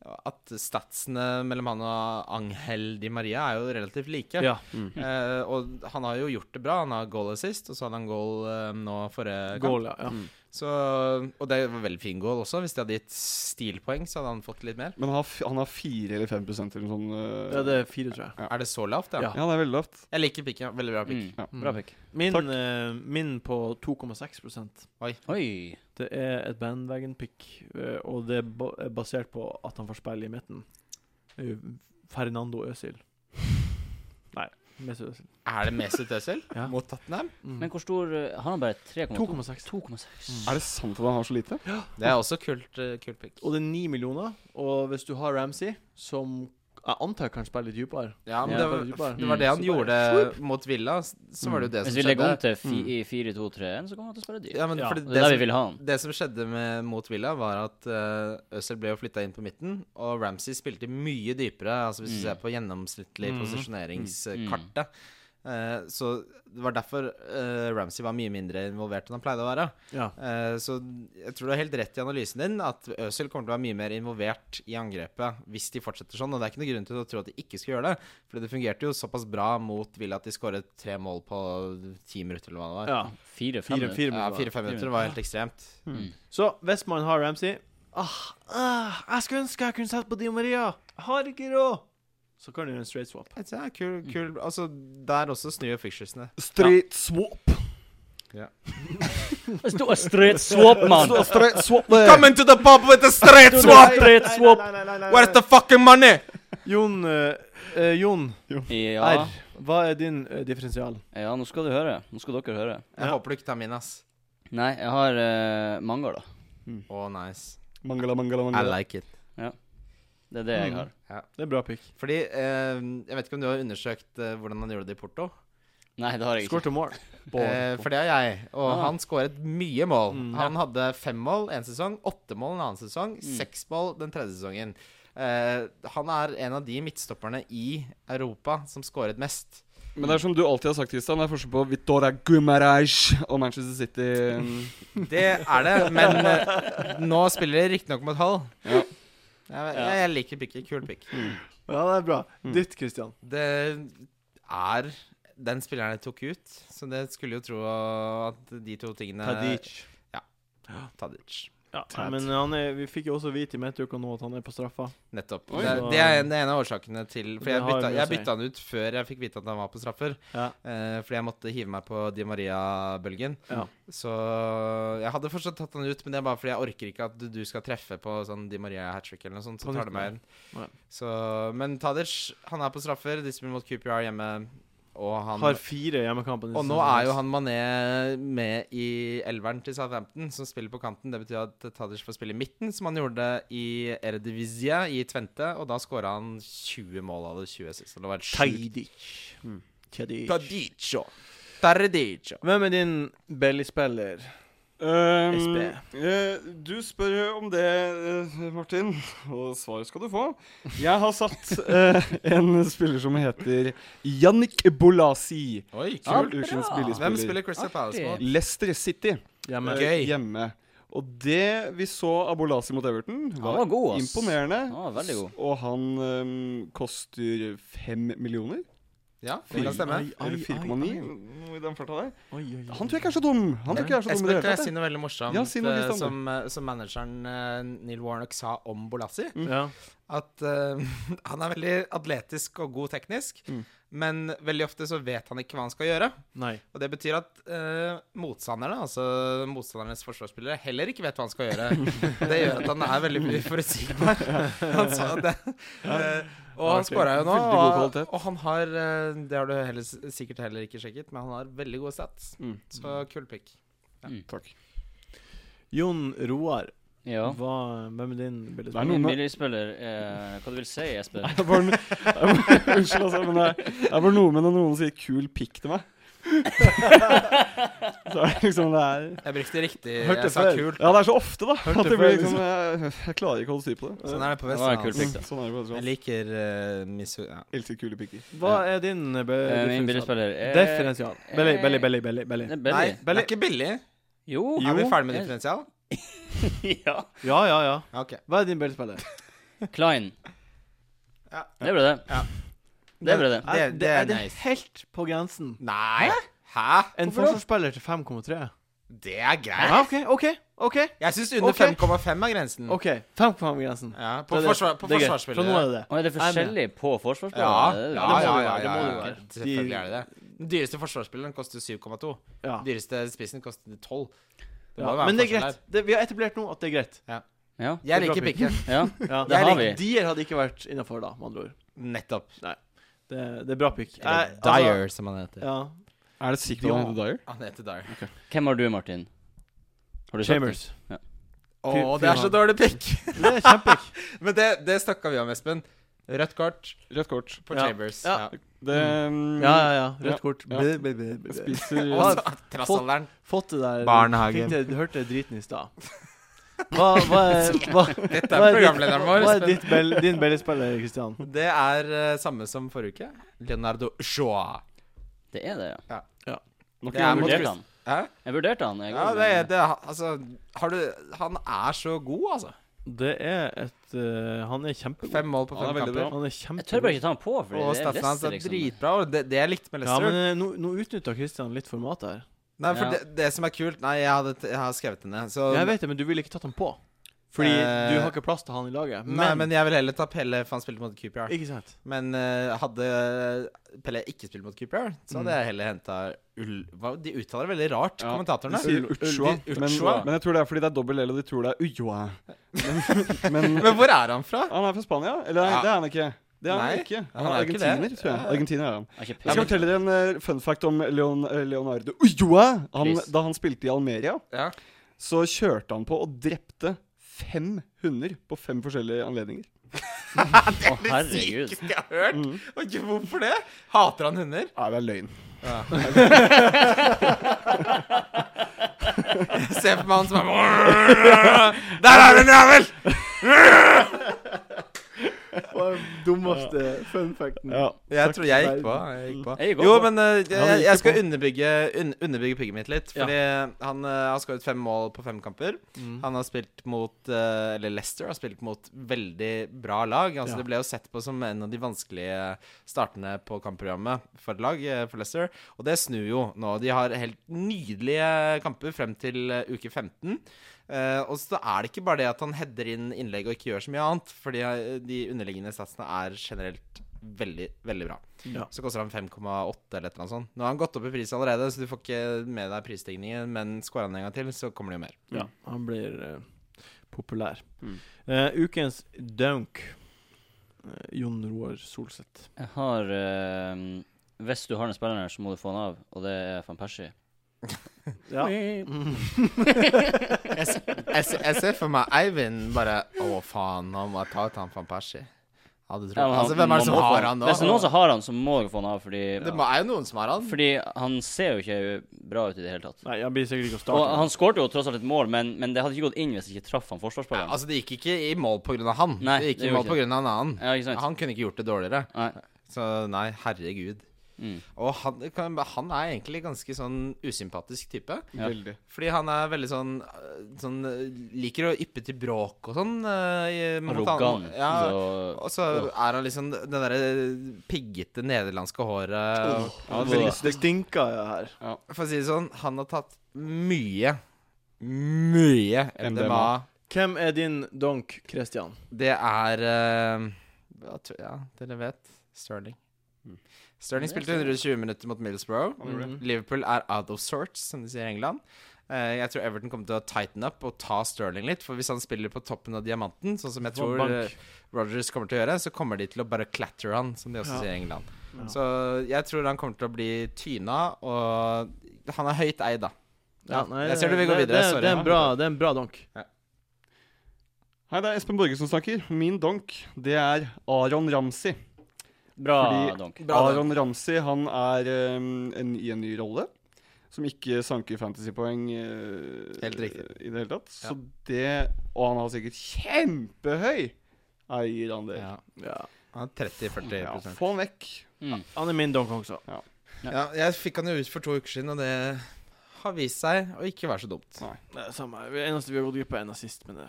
Speaker 4: ja, At statsene mellom han og Angel Di Maria er jo relativt like.
Speaker 1: Ja.
Speaker 4: Eh, og han har jo gjort det bra. Han har goal assist, og så hadde han goal eh, nå forrige kamp.
Speaker 1: Goal, ja.
Speaker 3: mm.
Speaker 1: ja.
Speaker 4: Så, og det var veldig fin goal også. Hvis de hadde gitt stilpoeng, så hadde han fått litt mer.
Speaker 3: Men han har, f- han har 4 eller 5 eller noe sånt. øh,
Speaker 1: ja det er fire, tror jeg.
Speaker 3: Ja.
Speaker 4: Er det så lavt, ja?
Speaker 1: Ja.
Speaker 3: ja, det er veldig lavt.
Speaker 4: Jeg liker pikken. ja. Veldig bra pikk.
Speaker 2: Mm.
Speaker 3: Ja.
Speaker 2: Bra pick.
Speaker 1: Min,
Speaker 3: Takk.
Speaker 1: eh, min på 2,6
Speaker 2: Mm. Oi.
Speaker 1: Det er et bandwagon-pick, eh, og det er ba- er basert på at han får spille i midten. Eh, Fernando Øsil. Nei, Mesut Øsil.
Speaker 4: Er det Mesut Özil
Speaker 1: Ja.
Speaker 4: mot Tottenham?
Speaker 1: Mm.
Speaker 2: Men hvor stor eh, Har han bare 3,2?
Speaker 1: 2,6.
Speaker 4: Mm.
Speaker 2: 2,6.
Speaker 3: Er det sant at han har så lite?
Speaker 4: Det er også kult, eh, kult pikk.
Speaker 1: Og det er 9 millioner, og hvis du har Ramsey, som jeg antar kan spille litt dypere
Speaker 4: Ja, men
Speaker 1: Ja,
Speaker 4: det
Speaker 1: veldig bra.
Speaker 4: var, det var det
Speaker 2: Mm.
Speaker 4: han
Speaker 1: Så
Speaker 4: gjorde
Speaker 1: bare-
Speaker 4: mot Villa. s- Så var det jo det
Speaker 2: Hvis
Speaker 4: som
Speaker 2: vi legger om
Speaker 4: skjedde. Mm.
Speaker 2: til fi- i 4-2-3-1, så kommer han til å spille dyrt.
Speaker 4: Ja, men
Speaker 1: Ja,
Speaker 4: fordi
Speaker 2: Det
Speaker 4: det
Speaker 2: er der vi
Speaker 4: som-
Speaker 2: vil ha han.
Speaker 4: Det som skjedde med, mot Villa, var at uh, Øzil ble jo flytta inn på midten, og Ramsey spilte mye dypere, altså hvis
Speaker 2: Mm.
Speaker 4: du ser på gjennomsnittlig
Speaker 1: Mm.
Speaker 4: posisjoneringskartet.
Speaker 2: Mm.
Speaker 4: Eh, så det var derfor eh, Ramsey var mye mindre involvert enn han pleide å være.
Speaker 1: Ja.
Speaker 4: Eh, så jeg tror du har helt rett i analysen din, at Øzil kommer til å være mye mer involvert i angrepet hvis de fortsetter sånn, og det er ikke noen grunn til å tro at de ikke skal gjøre det, for det fungerte jo såpass bra mot Villa at de skåret tre mål på ti minutter, eller hva det var.
Speaker 1: ja.
Speaker 2: Fire-fem.
Speaker 1: Fire, fire
Speaker 4: Ja,
Speaker 1: millioner.
Speaker 4: Fire-fem minutter var helt ekstremt.
Speaker 3: Mm.
Speaker 2: Mm.
Speaker 1: Så hvis man har Ramsey ah, ah, Jeg skulle ønske jeg kunne sett på Di Maria! Jeg har ikke råd! Så kan du gjøre en straight swap.
Speaker 4: Det er kul, kul Altså, der også snur jo ficturesene.
Speaker 3: Straight swap.
Speaker 2: Det står straight swap, mann!
Speaker 3: Straight swap
Speaker 4: into the pub with a straight
Speaker 2: Straight swap!
Speaker 1: Nei, nei, nei, nei,
Speaker 4: the fucking money?
Speaker 1: Jon, eh, eh, Jon
Speaker 2: Ja,
Speaker 1: R, hva er din eh, differensial?
Speaker 2: ja, nå skal du høre. Nå skal dere høre.
Speaker 4: Jeg håper du ikke tar min, ass.
Speaker 2: Nei, jeg har uh, Mangar, da.
Speaker 4: Å, nice.
Speaker 3: Mangala,
Speaker 4: I
Speaker 3: mangala, mangala.
Speaker 4: like it.
Speaker 2: Det er det jeg
Speaker 1: Mm.
Speaker 2: har.
Speaker 1: Det er bra pick.
Speaker 4: Fordi eh, Jeg vet ikke om du har undersøkt eh, hvordan han gjorde det i Porto?
Speaker 2: Nei, det har jeg
Speaker 1: Score
Speaker 2: ikke.
Speaker 1: to more.
Speaker 4: Eh, for det har jeg. Og
Speaker 2: Ah.
Speaker 4: han skåret mye mål.
Speaker 1: Mm.
Speaker 4: han hadde fem mål en sesong, åtte mål en annen sesong, seks mål den tredje sesongen. Eh, han er en av de midtstopperne i Europa som skåret mest.
Speaker 3: Men det er som du alltid har sagt, Kristian, det er forskjell på Vitora Gumaraj og Manchester City.
Speaker 2: Mm.
Speaker 4: Det er det, men eh, nå spiller de riktignok mot halv.
Speaker 3: Ja.
Speaker 4: Jeg,
Speaker 2: Ja.
Speaker 4: jeg, jeg liker picket. Kul pick.
Speaker 1: Ja, det er bra. Ditt, Christian.
Speaker 4: Det er den spilleren jeg tok ut, så det skulle jo tro at de to tingene
Speaker 1: Tadic.
Speaker 4: Tadic.
Speaker 1: Ja, men han er, vi fikk jo også vite i midtuka nå at han er på straffa.
Speaker 4: Nettopp.
Speaker 1: Oi.
Speaker 4: det, det er en, det er en av årsakene til For
Speaker 1: Det
Speaker 4: jeg
Speaker 1: har
Speaker 4: bytta,
Speaker 1: mye å
Speaker 4: jeg
Speaker 1: si.
Speaker 4: bytta han ut før jeg fikk vite at han var på straffer.
Speaker 1: Ja.
Speaker 4: Eh, fordi jeg måtte hive meg på Di Maria-bølgen.
Speaker 1: Ja.
Speaker 4: Så jeg hadde fortsatt tatt han ut, men det er bare fordi jeg orker ikke at du, du skal treffe på sånn Di Maria-hat trick eller noe sånt. Så
Speaker 1: Kan
Speaker 4: tar
Speaker 1: ikke
Speaker 4: det meg
Speaker 1: Nei.
Speaker 4: igjen. Så, men Tadic, han er på straffer. De spiller mot QPR hjemme, og han
Speaker 1: Har fire hjemmekamper.
Speaker 4: Og nå er jo han Mané med i elveren til Southampton, som spiller på kanten. Det betyr at Tadic får spille i midten, som han gjorde i Eredivisie i Tvente. Og da skåra han 20 mål av det 20 sist. Det var helt sjukt.
Speaker 1: Tadic. Tadic.
Speaker 4: Tadicio. Tadicio.
Speaker 1: Hvem er din bellyspiller?
Speaker 3: Um,
Speaker 1: SB.
Speaker 3: eh, du spør om det, eh, Martin, og svar skal du få. Jeg har satt eh, en spiller som heter Jannik Bolasi.
Speaker 4: Oi,
Speaker 2: Ja,
Speaker 4: kult.
Speaker 3: Ukens
Speaker 2: bra.
Speaker 3: billigspiller.
Speaker 4: Hvem spiller Crystal Palace mot?
Speaker 2: Artig.
Speaker 3: Leicester City
Speaker 1: Hjemme.
Speaker 4: Gøy.
Speaker 3: eh, hjemme. Og det vi så av Bolasi mot Everton, var,
Speaker 2: var god, ass.
Speaker 3: imponerende.
Speaker 2: Han var veldig god.
Speaker 3: Og han ehm, koster fem millioner.
Speaker 4: Ja, det kan stemme.
Speaker 1: Ai, ai,
Speaker 3: Eller
Speaker 1: ai,
Speaker 3: 4,9.
Speaker 1: ai.
Speaker 3: Noe i den farta der.
Speaker 1: Oi, oi, oi.
Speaker 3: Han tror jeg ikke er så dum. Han tror ikke jeg er så
Speaker 4: Jeg
Speaker 3: dum i det
Speaker 4: skal
Speaker 3: hele
Speaker 4: si
Speaker 3: tatt. jeg.
Speaker 4: noe veldig morsomt
Speaker 3: Ja, si noe
Speaker 4: eh,
Speaker 3: litt om det.
Speaker 4: som, eh, som manageren eh, Neil Warnock sa om Bolassi.
Speaker 1: Ja.
Speaker 4: At eh, han er veldig atletisk og god teknisk,
Speaker 3: Mm.
Speaker 4: men veldig ofte så vet han ikke hva han skal gjøre.
Speaker 1: Nei.
Speaker 4: Og det betyr at eh, motstanderne, altså motstandernes forsvarsspillere, heller ikke vet hva han skal gjøre. Det gjør at han er veldig uforutsigbar. Han sa det. Eh, og han
Speaker 1: Ok,
Speaker 4: skåra jo nå.
Speaker 3: veldig god
Speaker 4: Og,
Speaker 3: kvalitet.
Speaker 4: og han har eh, Det har du heller, s- sikkert heller ikke sjekket, men han har veldig gode stats.
Speaker 3: Mm.
Speaker 4: Så kul pick.
Speaker 3: Takk.
Speaker 1: Jon Roar.
Speaker 2: Ja.
Speaker 1: Hva, hvem er din
Speaker 3: Det er
Speaker 1: billedspiller?
Speaker 3: noe
Speaker 2: Min
Speaker 3: med
Speaker 2: billigspiller eh, Hva du vil si, Jesper?
Speaker 3: Det er bare no- det er bare- Unnskyld, altså, men det er, det er bare noe med når noen sier 'kul pikk' til meg. Så er det liksom det er
Speaker 4: Jeg brukte riktig.
Speaker 1: Hørte
Speaker 4: Jeg sa
Speaker 1: før.
Speaker 4: kult.
Speaker 3: Ja, det er så ofte, da. At
Speaker 1: Hørte
Speaker 3: det blir
Speaker 1: før,
Speaker 3: liksom jeg, jeg klarer ikke å holde styr på det.
Speaker 4: Sånn er det på
Speaker 2: Det var en kul
Speaker 4: Vestlandet.
Speaker 2: pikk,
Speaker 4: altså.
Speaker 2: da.
Speaker 3: Sånn er det
Speaker 4: Jeg
Speaker 3: bare.
Speaker 4: liker uh, misu... Ja.
Speaker 3: Elsker kule pikker.
Speaker 1: Hva er din eh, be-
Speaker 2: Eh, min Eh,
Speaker 1: differensial?
Speaker 2: billigspiller er
Speaker 1: Differensial. Belly, belly, belly, belly. belly.
Speaker 2: Det er
Speaker 4: Nei,
Speaker 2: Belly.
Speaker 4: det er ikke billig.
Speaker 2: Jo.
Speaker 4: Er vi ferdig med
Speaker 2: jeg-
Speaker 4: differensial?
Speaker 2: ja.
Speaker 1: Ja, ja, ja.
Speaker 4: Ja, Ok.
Speaker 1: Hva er din billedspiller?
Speaker 2: Klein.
Speaker 4: Ja.
Speaker 2: Det ble det.
Speaker 4: Ja.
Speaker 2: Det ble det.
Speaker 4: Det-
Speaker 1: Er-
Speaker 4: det er
Speaker 1: er det
Speaker 4: nice.
Speaker 1: helt på grensen.
Speaker 4: Nei. Hæ?
Speaker 1: En
Speaker 2: Hvorfor da?
Speaker 1: forsvarsspiller til 5,3.
Speaker 4: Det er greit.
Speaker 1: Ja, OK, OK. OK.
Speaker 4: Jeg syns under
Speaker 1: Ok.
Speaker 4: 5,5 er grensen.
Speaker 1: ok 5,5-grensen.
Speaker 4: Ja, Mm. Eh, på forsvar, på
Speaker 1: Fra nå er
Speaker 4: forsvarsspillere.
Speaker 1: Sånn det det.
Speaker 2: Og er det forskjellig på forsvarsspillere?
Speaker 4: Ja,
Speaker 2: Det er det.
Speaker 4: ja,
Speaker 1: må
Speaker 4: ja,
Speaker 1: det
Speaker 4: ja,
Speaker 1: være,
Speaker 4: ja,
Speaker 1: det
Speaker 4: ja,
Speaker 1: må det
Speaker 4: ja.
Speaker 1: være.
Speaker 4: Selvfølgelig
Speaker 1: De-
Speaker 4: er det det. Den dyreste forsvarsspilleren koster 7,2.
Speaker 1: Ja.
Speaker 4: Den dyreste spissen koster 12. Det må
Speaker 1: Ja.
Speaker 4: jo være
Speaker 1: Men det er
Speaker 4: forskjell
Speaker 1: greit. Det, vi har etablert nå at det er greit.
Speaker 2: Ja.
Speaker 4: der. Jeg
Speaker 1: Det er
Speaker 4: liker
Speaker 1: bra
Speaker 4: pikken.
Speaker 2: ja.
Speaker 1: Ja.
Speaker 2: Det har vi.
Speaker 1: Dier hadde ikke vært innafor, da, med andre ord.
Speaker 4: Nettopp.
Speaker 1: Det, det er bra pikk.
Speaker 4: Eller
Speaker 1: Eh, altså,
Speaker 4: Dyer, som han heter.
Speaker 1: ja.
Speaker 3: Er det sikkert at han heter Dyer?
Speaker 4: Han heter Dyer.
Speaker 2: Hvem har du, Martin? Har du sagt det?
Speaker 1: Chambers.
Speaker 4: Å,
Speaker 1: Fy-
Speaker 4: det er
Speaker 1: fy
Speaker 4: så dårlig pikk!
Speaker 1: Det er kjempepikk.
Speaker 4: Men det, det snakka vi om, Espen. Rødt kort
Speaker 3: Rødt kort.
Speaker 4: på
Speaker 1: Ja.
Speaker 4: Chambers.
Speaker 1: Ja.
Speaker 3: Det mm,
Speaker 1: Ja, ja, ja. Rødt kort.
Speaker 3: Ja.
Speaker 1: Bli, bli, bli,
Speaker 3: Jeg
Speaker 1: bli.
Speaker 3: spiser
Speaker 4: Og
Speaker 1: Ja.
Speaker 4: så trassalderen.
Speaker 1: Fått det der
Speaker 4: Barnehagen.
Speaker 1: fikk det- Du hørte driten i stad. Hva, hva, er- hva,
Speaker 4: Dette
Speaker 1: hva
Speaker 4: er
Speaker 1: er ditt-
Speaker 4: programlederen vår.
Speaker 1: hva er
Speaker 4: Espen.
Speaker 1: ditt bell, din billedspiller, Kristian?
Speaker 4: Det er eh, samme som forrige uke. Leonardo Joa.
Speaker 2: Det er det, ja.
Speaker 3: Nok
Speaker 4: Det er
Speaker 3: en gang.
Speaker 4: mot-
Speaker 2: Vurderte han.
Speaker 4: Hæ?
Speaker 2: Jeg vurderte han. Jeg
Speaker 4: Ja,
Speaker 2: går
Speaker 4: det er
Speaker 2: med-
Speaker 4: det, er- Altså, har du Han er så god, altså.
Speaker 1: Det er et eh, Han er kjempegod.
Speaker 4: Fem mål på
Speaker 3: Han er
Speaker 4: fem
Speaker 3: veldig
Speaker 4: kamper.
Speaker 3: bra.
Speaker 1: Han er
Speaker 2: Jeg tør bare
Speaker 1: kjempegod.
Speaker 2: ikke ta han på, for
Speaker 4: Og
Speaker 2: det er
Speaker 4: Steffen hans
Speaker 2: Leicester,
Speaker 4: er
Speaker 2: liksom.
Speaker 4: dritbra. Og det, det jeg likte med
Speaker 1: Ja,
Speaker 4: Leicester
Speaker 1: men eh, nå, nå utnytta Kristian litt formatet her.
Speaker 4: Nei, for
Speaker 2: Ja.
Speaker 4: det, det som er kult Nei, jeg, hadde, jeg har skrevet den ned. Så
Speaker 1: Jeg vet det, men du ville ikke tatt han på. Fordi
Speaker 4: Eh,
Speaker 1: du har ikke plass til han i laget. Men,
Speaker 4: Nei, men jeg vil heller ta Pelle, for han spilte mot QPR.
Speaker 1: Ikke sant?
Speaker 4: Men eh, hadde Pelle ikke spilt mot QPR, så hadde jeg heller henta Ull... Hva, de uttaler det veldig rart,
Speaker 3: Ja, De
Speaker 4: kommentatorene.
Speaker 3: sier Utsjoa,
Speaker 4: Ull-
Speaker 3: men,
Speaker 4: Utsjoa.
Speaker 3: men jeg tror det er fordi det er dobbel L, og de tror det er Ujoa. Men, men
Speaker 4: Men hvor er han fra?
Speaker 3: han er fra Spania? Eller
Speaker 4: Ja.
Speaker 3: det er han ikke. Det er han
Speaker 4: Nei,
Speaker 3: ikke.
Speaker 4: han
Speaker 3: Han er
Speaker 4: er ikke det.
Speaker 3: argentiner, tror jeg. Argentiner er han.
Speaker 2: Jeg har ikke
Speaker 3: Jeg skal
Speaker 2: peiling.
Speaker 3: fortelle dere en eh, fun fact om Leon, eh, Leonardo Ulloa. Han,
Speaker 2: Please.
Speaker 3: da han spilte i Almeria,
Speaker 4: Ja.
Speaker 3: så kjørte han på og drepte fem hunder på fem forskjellige anledninger.
Speaker 2: Å, herregud. Mm.
Speaker 4: Sykeste jeg har hørt! Og ikke hvorfor det? Hater han hunder?
Speaker 3: Nei, det er løgn.
Speaker 4: Se på meg han som er Der er den, ja vel!
Speaker 1: Dummeste fun facten.
Speaker 3: Ja.
Speaker 4: Jeg tror jeg gikk på. Jeg gikk på.
Speaker 2: Mm. Jeg gikk
Speaker 4: jo,
Speaker 2: også på.
Speaker 4: men eh,
Speaker 3: han
Speaker 4: jeg,
Speaker 3: gikk
Speaker 4: jeg
Speaker 3: jo
Speaker 4: skal
Speaker 3: på.
Speaker 4: underbygge, un, underbygge pigget mitt litt. Fordi han eh, har skåret fem mål på fem kamper.
Speaker 1: Mm.
Speaker 4: Han har spilt mot eh, Eller Leicester har spilt mot veldig bra lag. Altså
Speaker 1: Ja.
Speaker 4: Det ble jo sett på som en av de vanskelige startene på kampprogrammet for et lag, eh, for Leicester. Og det snur jo nå. De har helt nydelige kamper frem til eh, uke 15. Eh, og så er det ikke bare det at han header inn innlegg og ikke gjør så mye annet, fordi eh, de underliggende satsene er generelt veldig, veldig bra.
Speaker 1: Ja.
Speaker 4: Så koster han 5,8 eller et eller annet sånt. Nå har han gått opp i pris allerede, så du får ikke med deg prisstigningen, men skårer han en gang til, så kommer det jo mer.
Speaker 1: Ja, han blir eh, populær.
Speaker 3: Mm.
Speaker 1: Eh, ukens dunk. Eh, Jon Roar Solseth.
Speaker 2: Jeg har eh, Hvis du har den spilleren her, så må du få den av, og det er van Persie.
Speaker 1: Ja.
Speaker 4: Mm. Jeg, s- jeg, s- jeg ser for meg Eivind bare Å, faen, nå må jeg ta ut han van Persie. Hadde trodd
Speaker 2: Ja, men han-
Speaker 4: Altså, hvem er det som
Speaker 2: man må få
Speaker 4: har han nå?
Speaker 2: Hvis det er noen som har han, så må jeg få han av, fordi
Speaker 4: Det må- er jo noen som har han.
Speaker 2: Fordi han ser jo ikke bra ut i det hele tatt.
Speaker 1: Nei, han blir sikkert ikke å
Speaker 2: Og
Speaker 1: starte.
Speaker 2: han skårte jo tross alt et mål, men, men det hadde ikke gått inn hvis jeg ikke traff han
Speaker 4: Ja,
Speaker 2: forsvarsspilleren.
Speaker 4: altså, det gikk ikke i mål på grunn av han.
Speaker 2: Nei,
Speaker 4: det gikk
Speaker 2: det
Speaker 4: i
Speaker 2: gjorde
Speaker 4: mål på
Speaker 2: ikke.
Speaker 4: grunn av en annen.
Speaker 2: Ja, ikke sant?
Speaker 4: Han kunne ikke gjort det dårligere.
Speaker 2: Nei.
Speaker 4: Så nei, herregud.
Speaker 2: Mm.
Speaker 4: Og han, kan, han er egentlig ganske sånn usympatisk type.
Speaker 2: Ja.
Speaker 3: Veldig.
Speaker 4: Fordi han er veldig sånn, øh, sånn øh, Liker å yppe til bråk og sånn. øh, i- mot
Speaker 2: Arrogant.
Speaker 4: andre- Ja.
Speaker 2: og-
Speaker 4: Og så er han liksom det derre piggete nederlandske håret.
Speaker 3: Ja,
Speaker 2: det
Speaker 3: veldig.
Speaker 2: var-
Speaker 1: Det stinker jo her.
Speaker 4: For å si det sånn, han har tatt mye, mye MDMA.
Speaker 3: MDMA.
Speaker 1: Hvem er din donk, Kristian?
Speaker 4: Det er øh, hva tror- Ja, dere vet. Sterling.
Speaker 3: Mm.
Speaker 4: Sterling
Speaker 2: Det er
Speaker 4: spilte 120 minutter mot Middlesbrough.
Speaker 3: Han
Speaker 1: Mm.
Speaker 3: gjorde det.
Speaker 4: Liverpool er out of sorts, som de sier i England. Eh, jeg tror Everton kommer til å tighten up og ta Sterling litt. For hvis han spiller på toppen av diamanten, sånn som jeg
Speaker 1: Få
Speaker 4: tror
Speaker 1: bank.
Speaker 4: eh, Rogers kommer til å gjøre, så kommer de til å bare clatter han, som de også
Speaker 1: Ja.
Speaker 4: sier i England.
Speaker 1: Ja.
Speaker 4: Så jeg tror han kommer til å bli tyna, og han er høyt eid, da. Ja,
Speaker 1: nei,
Speaker 4: jeg ser du vil gå
Speaker 1: det-
Speaker 4: videre,
Speaker 1: Det,
Speaker 4: sorry.
Speaker 1: det, er en bra, det er en bra donk.
Speaker 4: Ja.
Speaker 3: Hei, det er Espen Borge som snakker. Min donk, det er Aron Ramsi.
Speaker 2: Bra,
Speaker 3: Fordi-
Speaker 2: Ah, Donk.
Speaker 4: Bra, det.
Speaker 3: Aron Ramsi, han er eh, en, i en ny rolle. Som ikke sanker fantasypoeng eh,
Speaker 4: Helt riktig.
Speaker 3: i det hele tatt.
Speaker 4: Ja.
Speaker 3: Så det Og han har sikkert kjempehøy eierandel.
Speaker 4: Ja.
Speaker 1: Ja.
Speaker 4: Han er 30-40
Speaker 3: Ja, få han vekk.
Speaker 2: Mm.
Speaker 1: Han er min donk også.
Speaker 4: Ja, jeg fikk han jo ut for to uker siden, og det har vist seg å ikke være så dumt.
Speaker 1: Det er samme. Det eneste vi har gått glipp av, er nazist, men det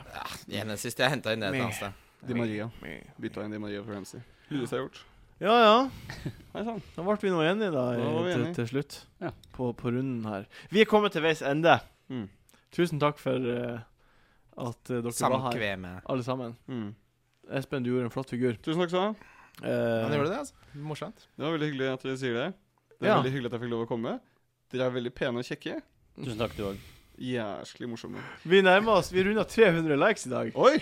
Speaker 4: Ja, en sist jeg henta inn det et annet sted.
Speaker 3: Di Maria.
Speaker 1: Meh.
Speaker 3: Bytta inn Di Maria for Ramsi. Lure seg gjort.
Speaker 1: Ja, ja.
Speaker 3: Nei sann.
Speaker 1: Da ble vi nå enige, da,
Speaker 3: Da var vi
Speaker 1: i, til,
Speaker 3: enige.
Speaker 1: til slutt.
Speaker 2: Ja.
Speaker 1: På, på runden her. Vi er kommet til veis ende.
Speaker 3: Mm.
Speaker 1: Tusen takk for eh, at eh, dere var her,
Speaker 4: Samkvemet.
Speaker 1: alle sammen.
Speaker 3: Mm.
Speaker 1: Espen, du gjorde en flott figur.
Speaker 3: Tusen takk, Sara.
Speaker 1: Eh,
Speaker 4: Han gjorde det, altså. Morsomt.
Speaker 3: Det var veldig hyggelig at dere sier det. Det er
Speaker 1: Ja.
Speaker 3: veldig hyggelig at jeg fikk lov å komme. Dere er veldig pene og kjekke.
Speaker 2: Tusen takk, du òg.
Speaker 3: Jæsklig morsomme.
Speaker 1: Vi nærmer oss. Vi runder 300 likes i dag.
Speaker 3: Oi!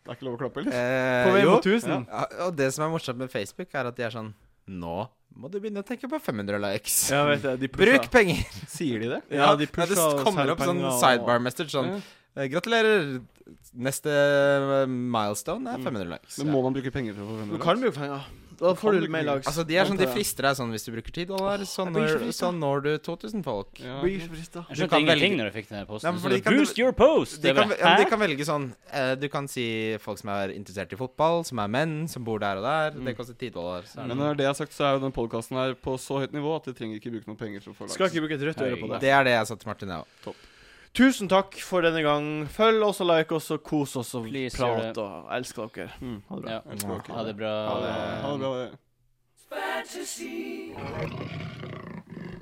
Speaker 3: Det er ikke lov å klappe, eller?
Speaker 1: På
Speaker 4: Eh,
Speaker 1: vei
Speaker 4: jo.
Speaker 1: mot 1000.
Speaker 3: Ja.
Speaker 4: Ja, og det som er morsomt med Facebook, er at de er sånn Nå må du begynne å tenke på 500 likes.
Speaker 1: Ja, vet jeg. De pusha.
Speaker 4: Bruk penger!
Speaker 3: Sier de det?
Speaker 1: Ja, de
Speaker 4: Nei,
Speaker 1: pusha
Speaker 4: det kommer opp sånn sidebar message sånn
Speaker 3: Ja.
Speaker 4: eh, Gratulerer. Neste eh, milestone er 500 likes.
Speaker 3: Men må man bruke penger for å få
Speaker 1: Du
Speaker 3: venner?
Speaker 1: kan bruke penger. Da
Speaker 3: kan
Speaker 1: får du
Speaker 3: bruke
Speaker 1: litt mer
Speaker 3: penger.
Speaker 1: likes.
Speaker 4: Altså, de er sånn, de
Speaker 1: Antar jeg.
Speaker 4: frister deg sånn hvis du bruker 10 dollar, så
Speaker 1: jeg blir
Speaker 4: sånn når,
Speaker 1: så frista.
Speaker 4: så når du 2000 folk.
Speaker 3: Ja.
Speaker 1: Blir ikke frista.
Speaker 2: Jeg
Speaker 4: Du
Speaker 2: skjønte
Speaker 4: kan
Speaker 2: ingenting
Speaker 4: velge-
Speaker 2: når jeg fikk den her posten.
Speaker 4: Nei, men
Speaker 2: Så
Speaker 4: fordi
Speaker 2: det
Speaker 4: kan du-
Speaker 2: Boost your post!
Speaker 4: De
Speaker 2: Det er
Speaker 4: kan,
Speaker 2: bare,
Speaker 4: ja, men de
Speaker 2: hæ?
Speaker 4: kan velge sånn eh, Du kan si folk som er interessert i fotball, som er menn, som bor der og der. Det koster 10 dollar. Så er
Speaker 3: Men når det er sagt, så er jo den podkasten her på så høyt nivå at de trenger ikke bruke noen penger for å få likes.
Speaker 1: Skal ikke bruke et rødt øre på
Speaker 4: Mm.
Speaker 1: det.
Speaker 4: det, det er det jeg sa til Martin, jeg òg.
Speaker 1: Tusen takk for denne gang. Følg oss og like oss og kos oss og
Speaker 2: Please, gjør
Speaker 1: prat
Speaker 2: det.
Speaker 1: og elsker dere.
Speaker 3: Mm.
Speaker 1: Ha det bra.
Speaker 2: Ja.
Speaker 3: Jeg tror ikke
Speaker 2: Ha det bra.
Speaker 3: Ha det. Ha det bra.
Speaker 5: fantasy.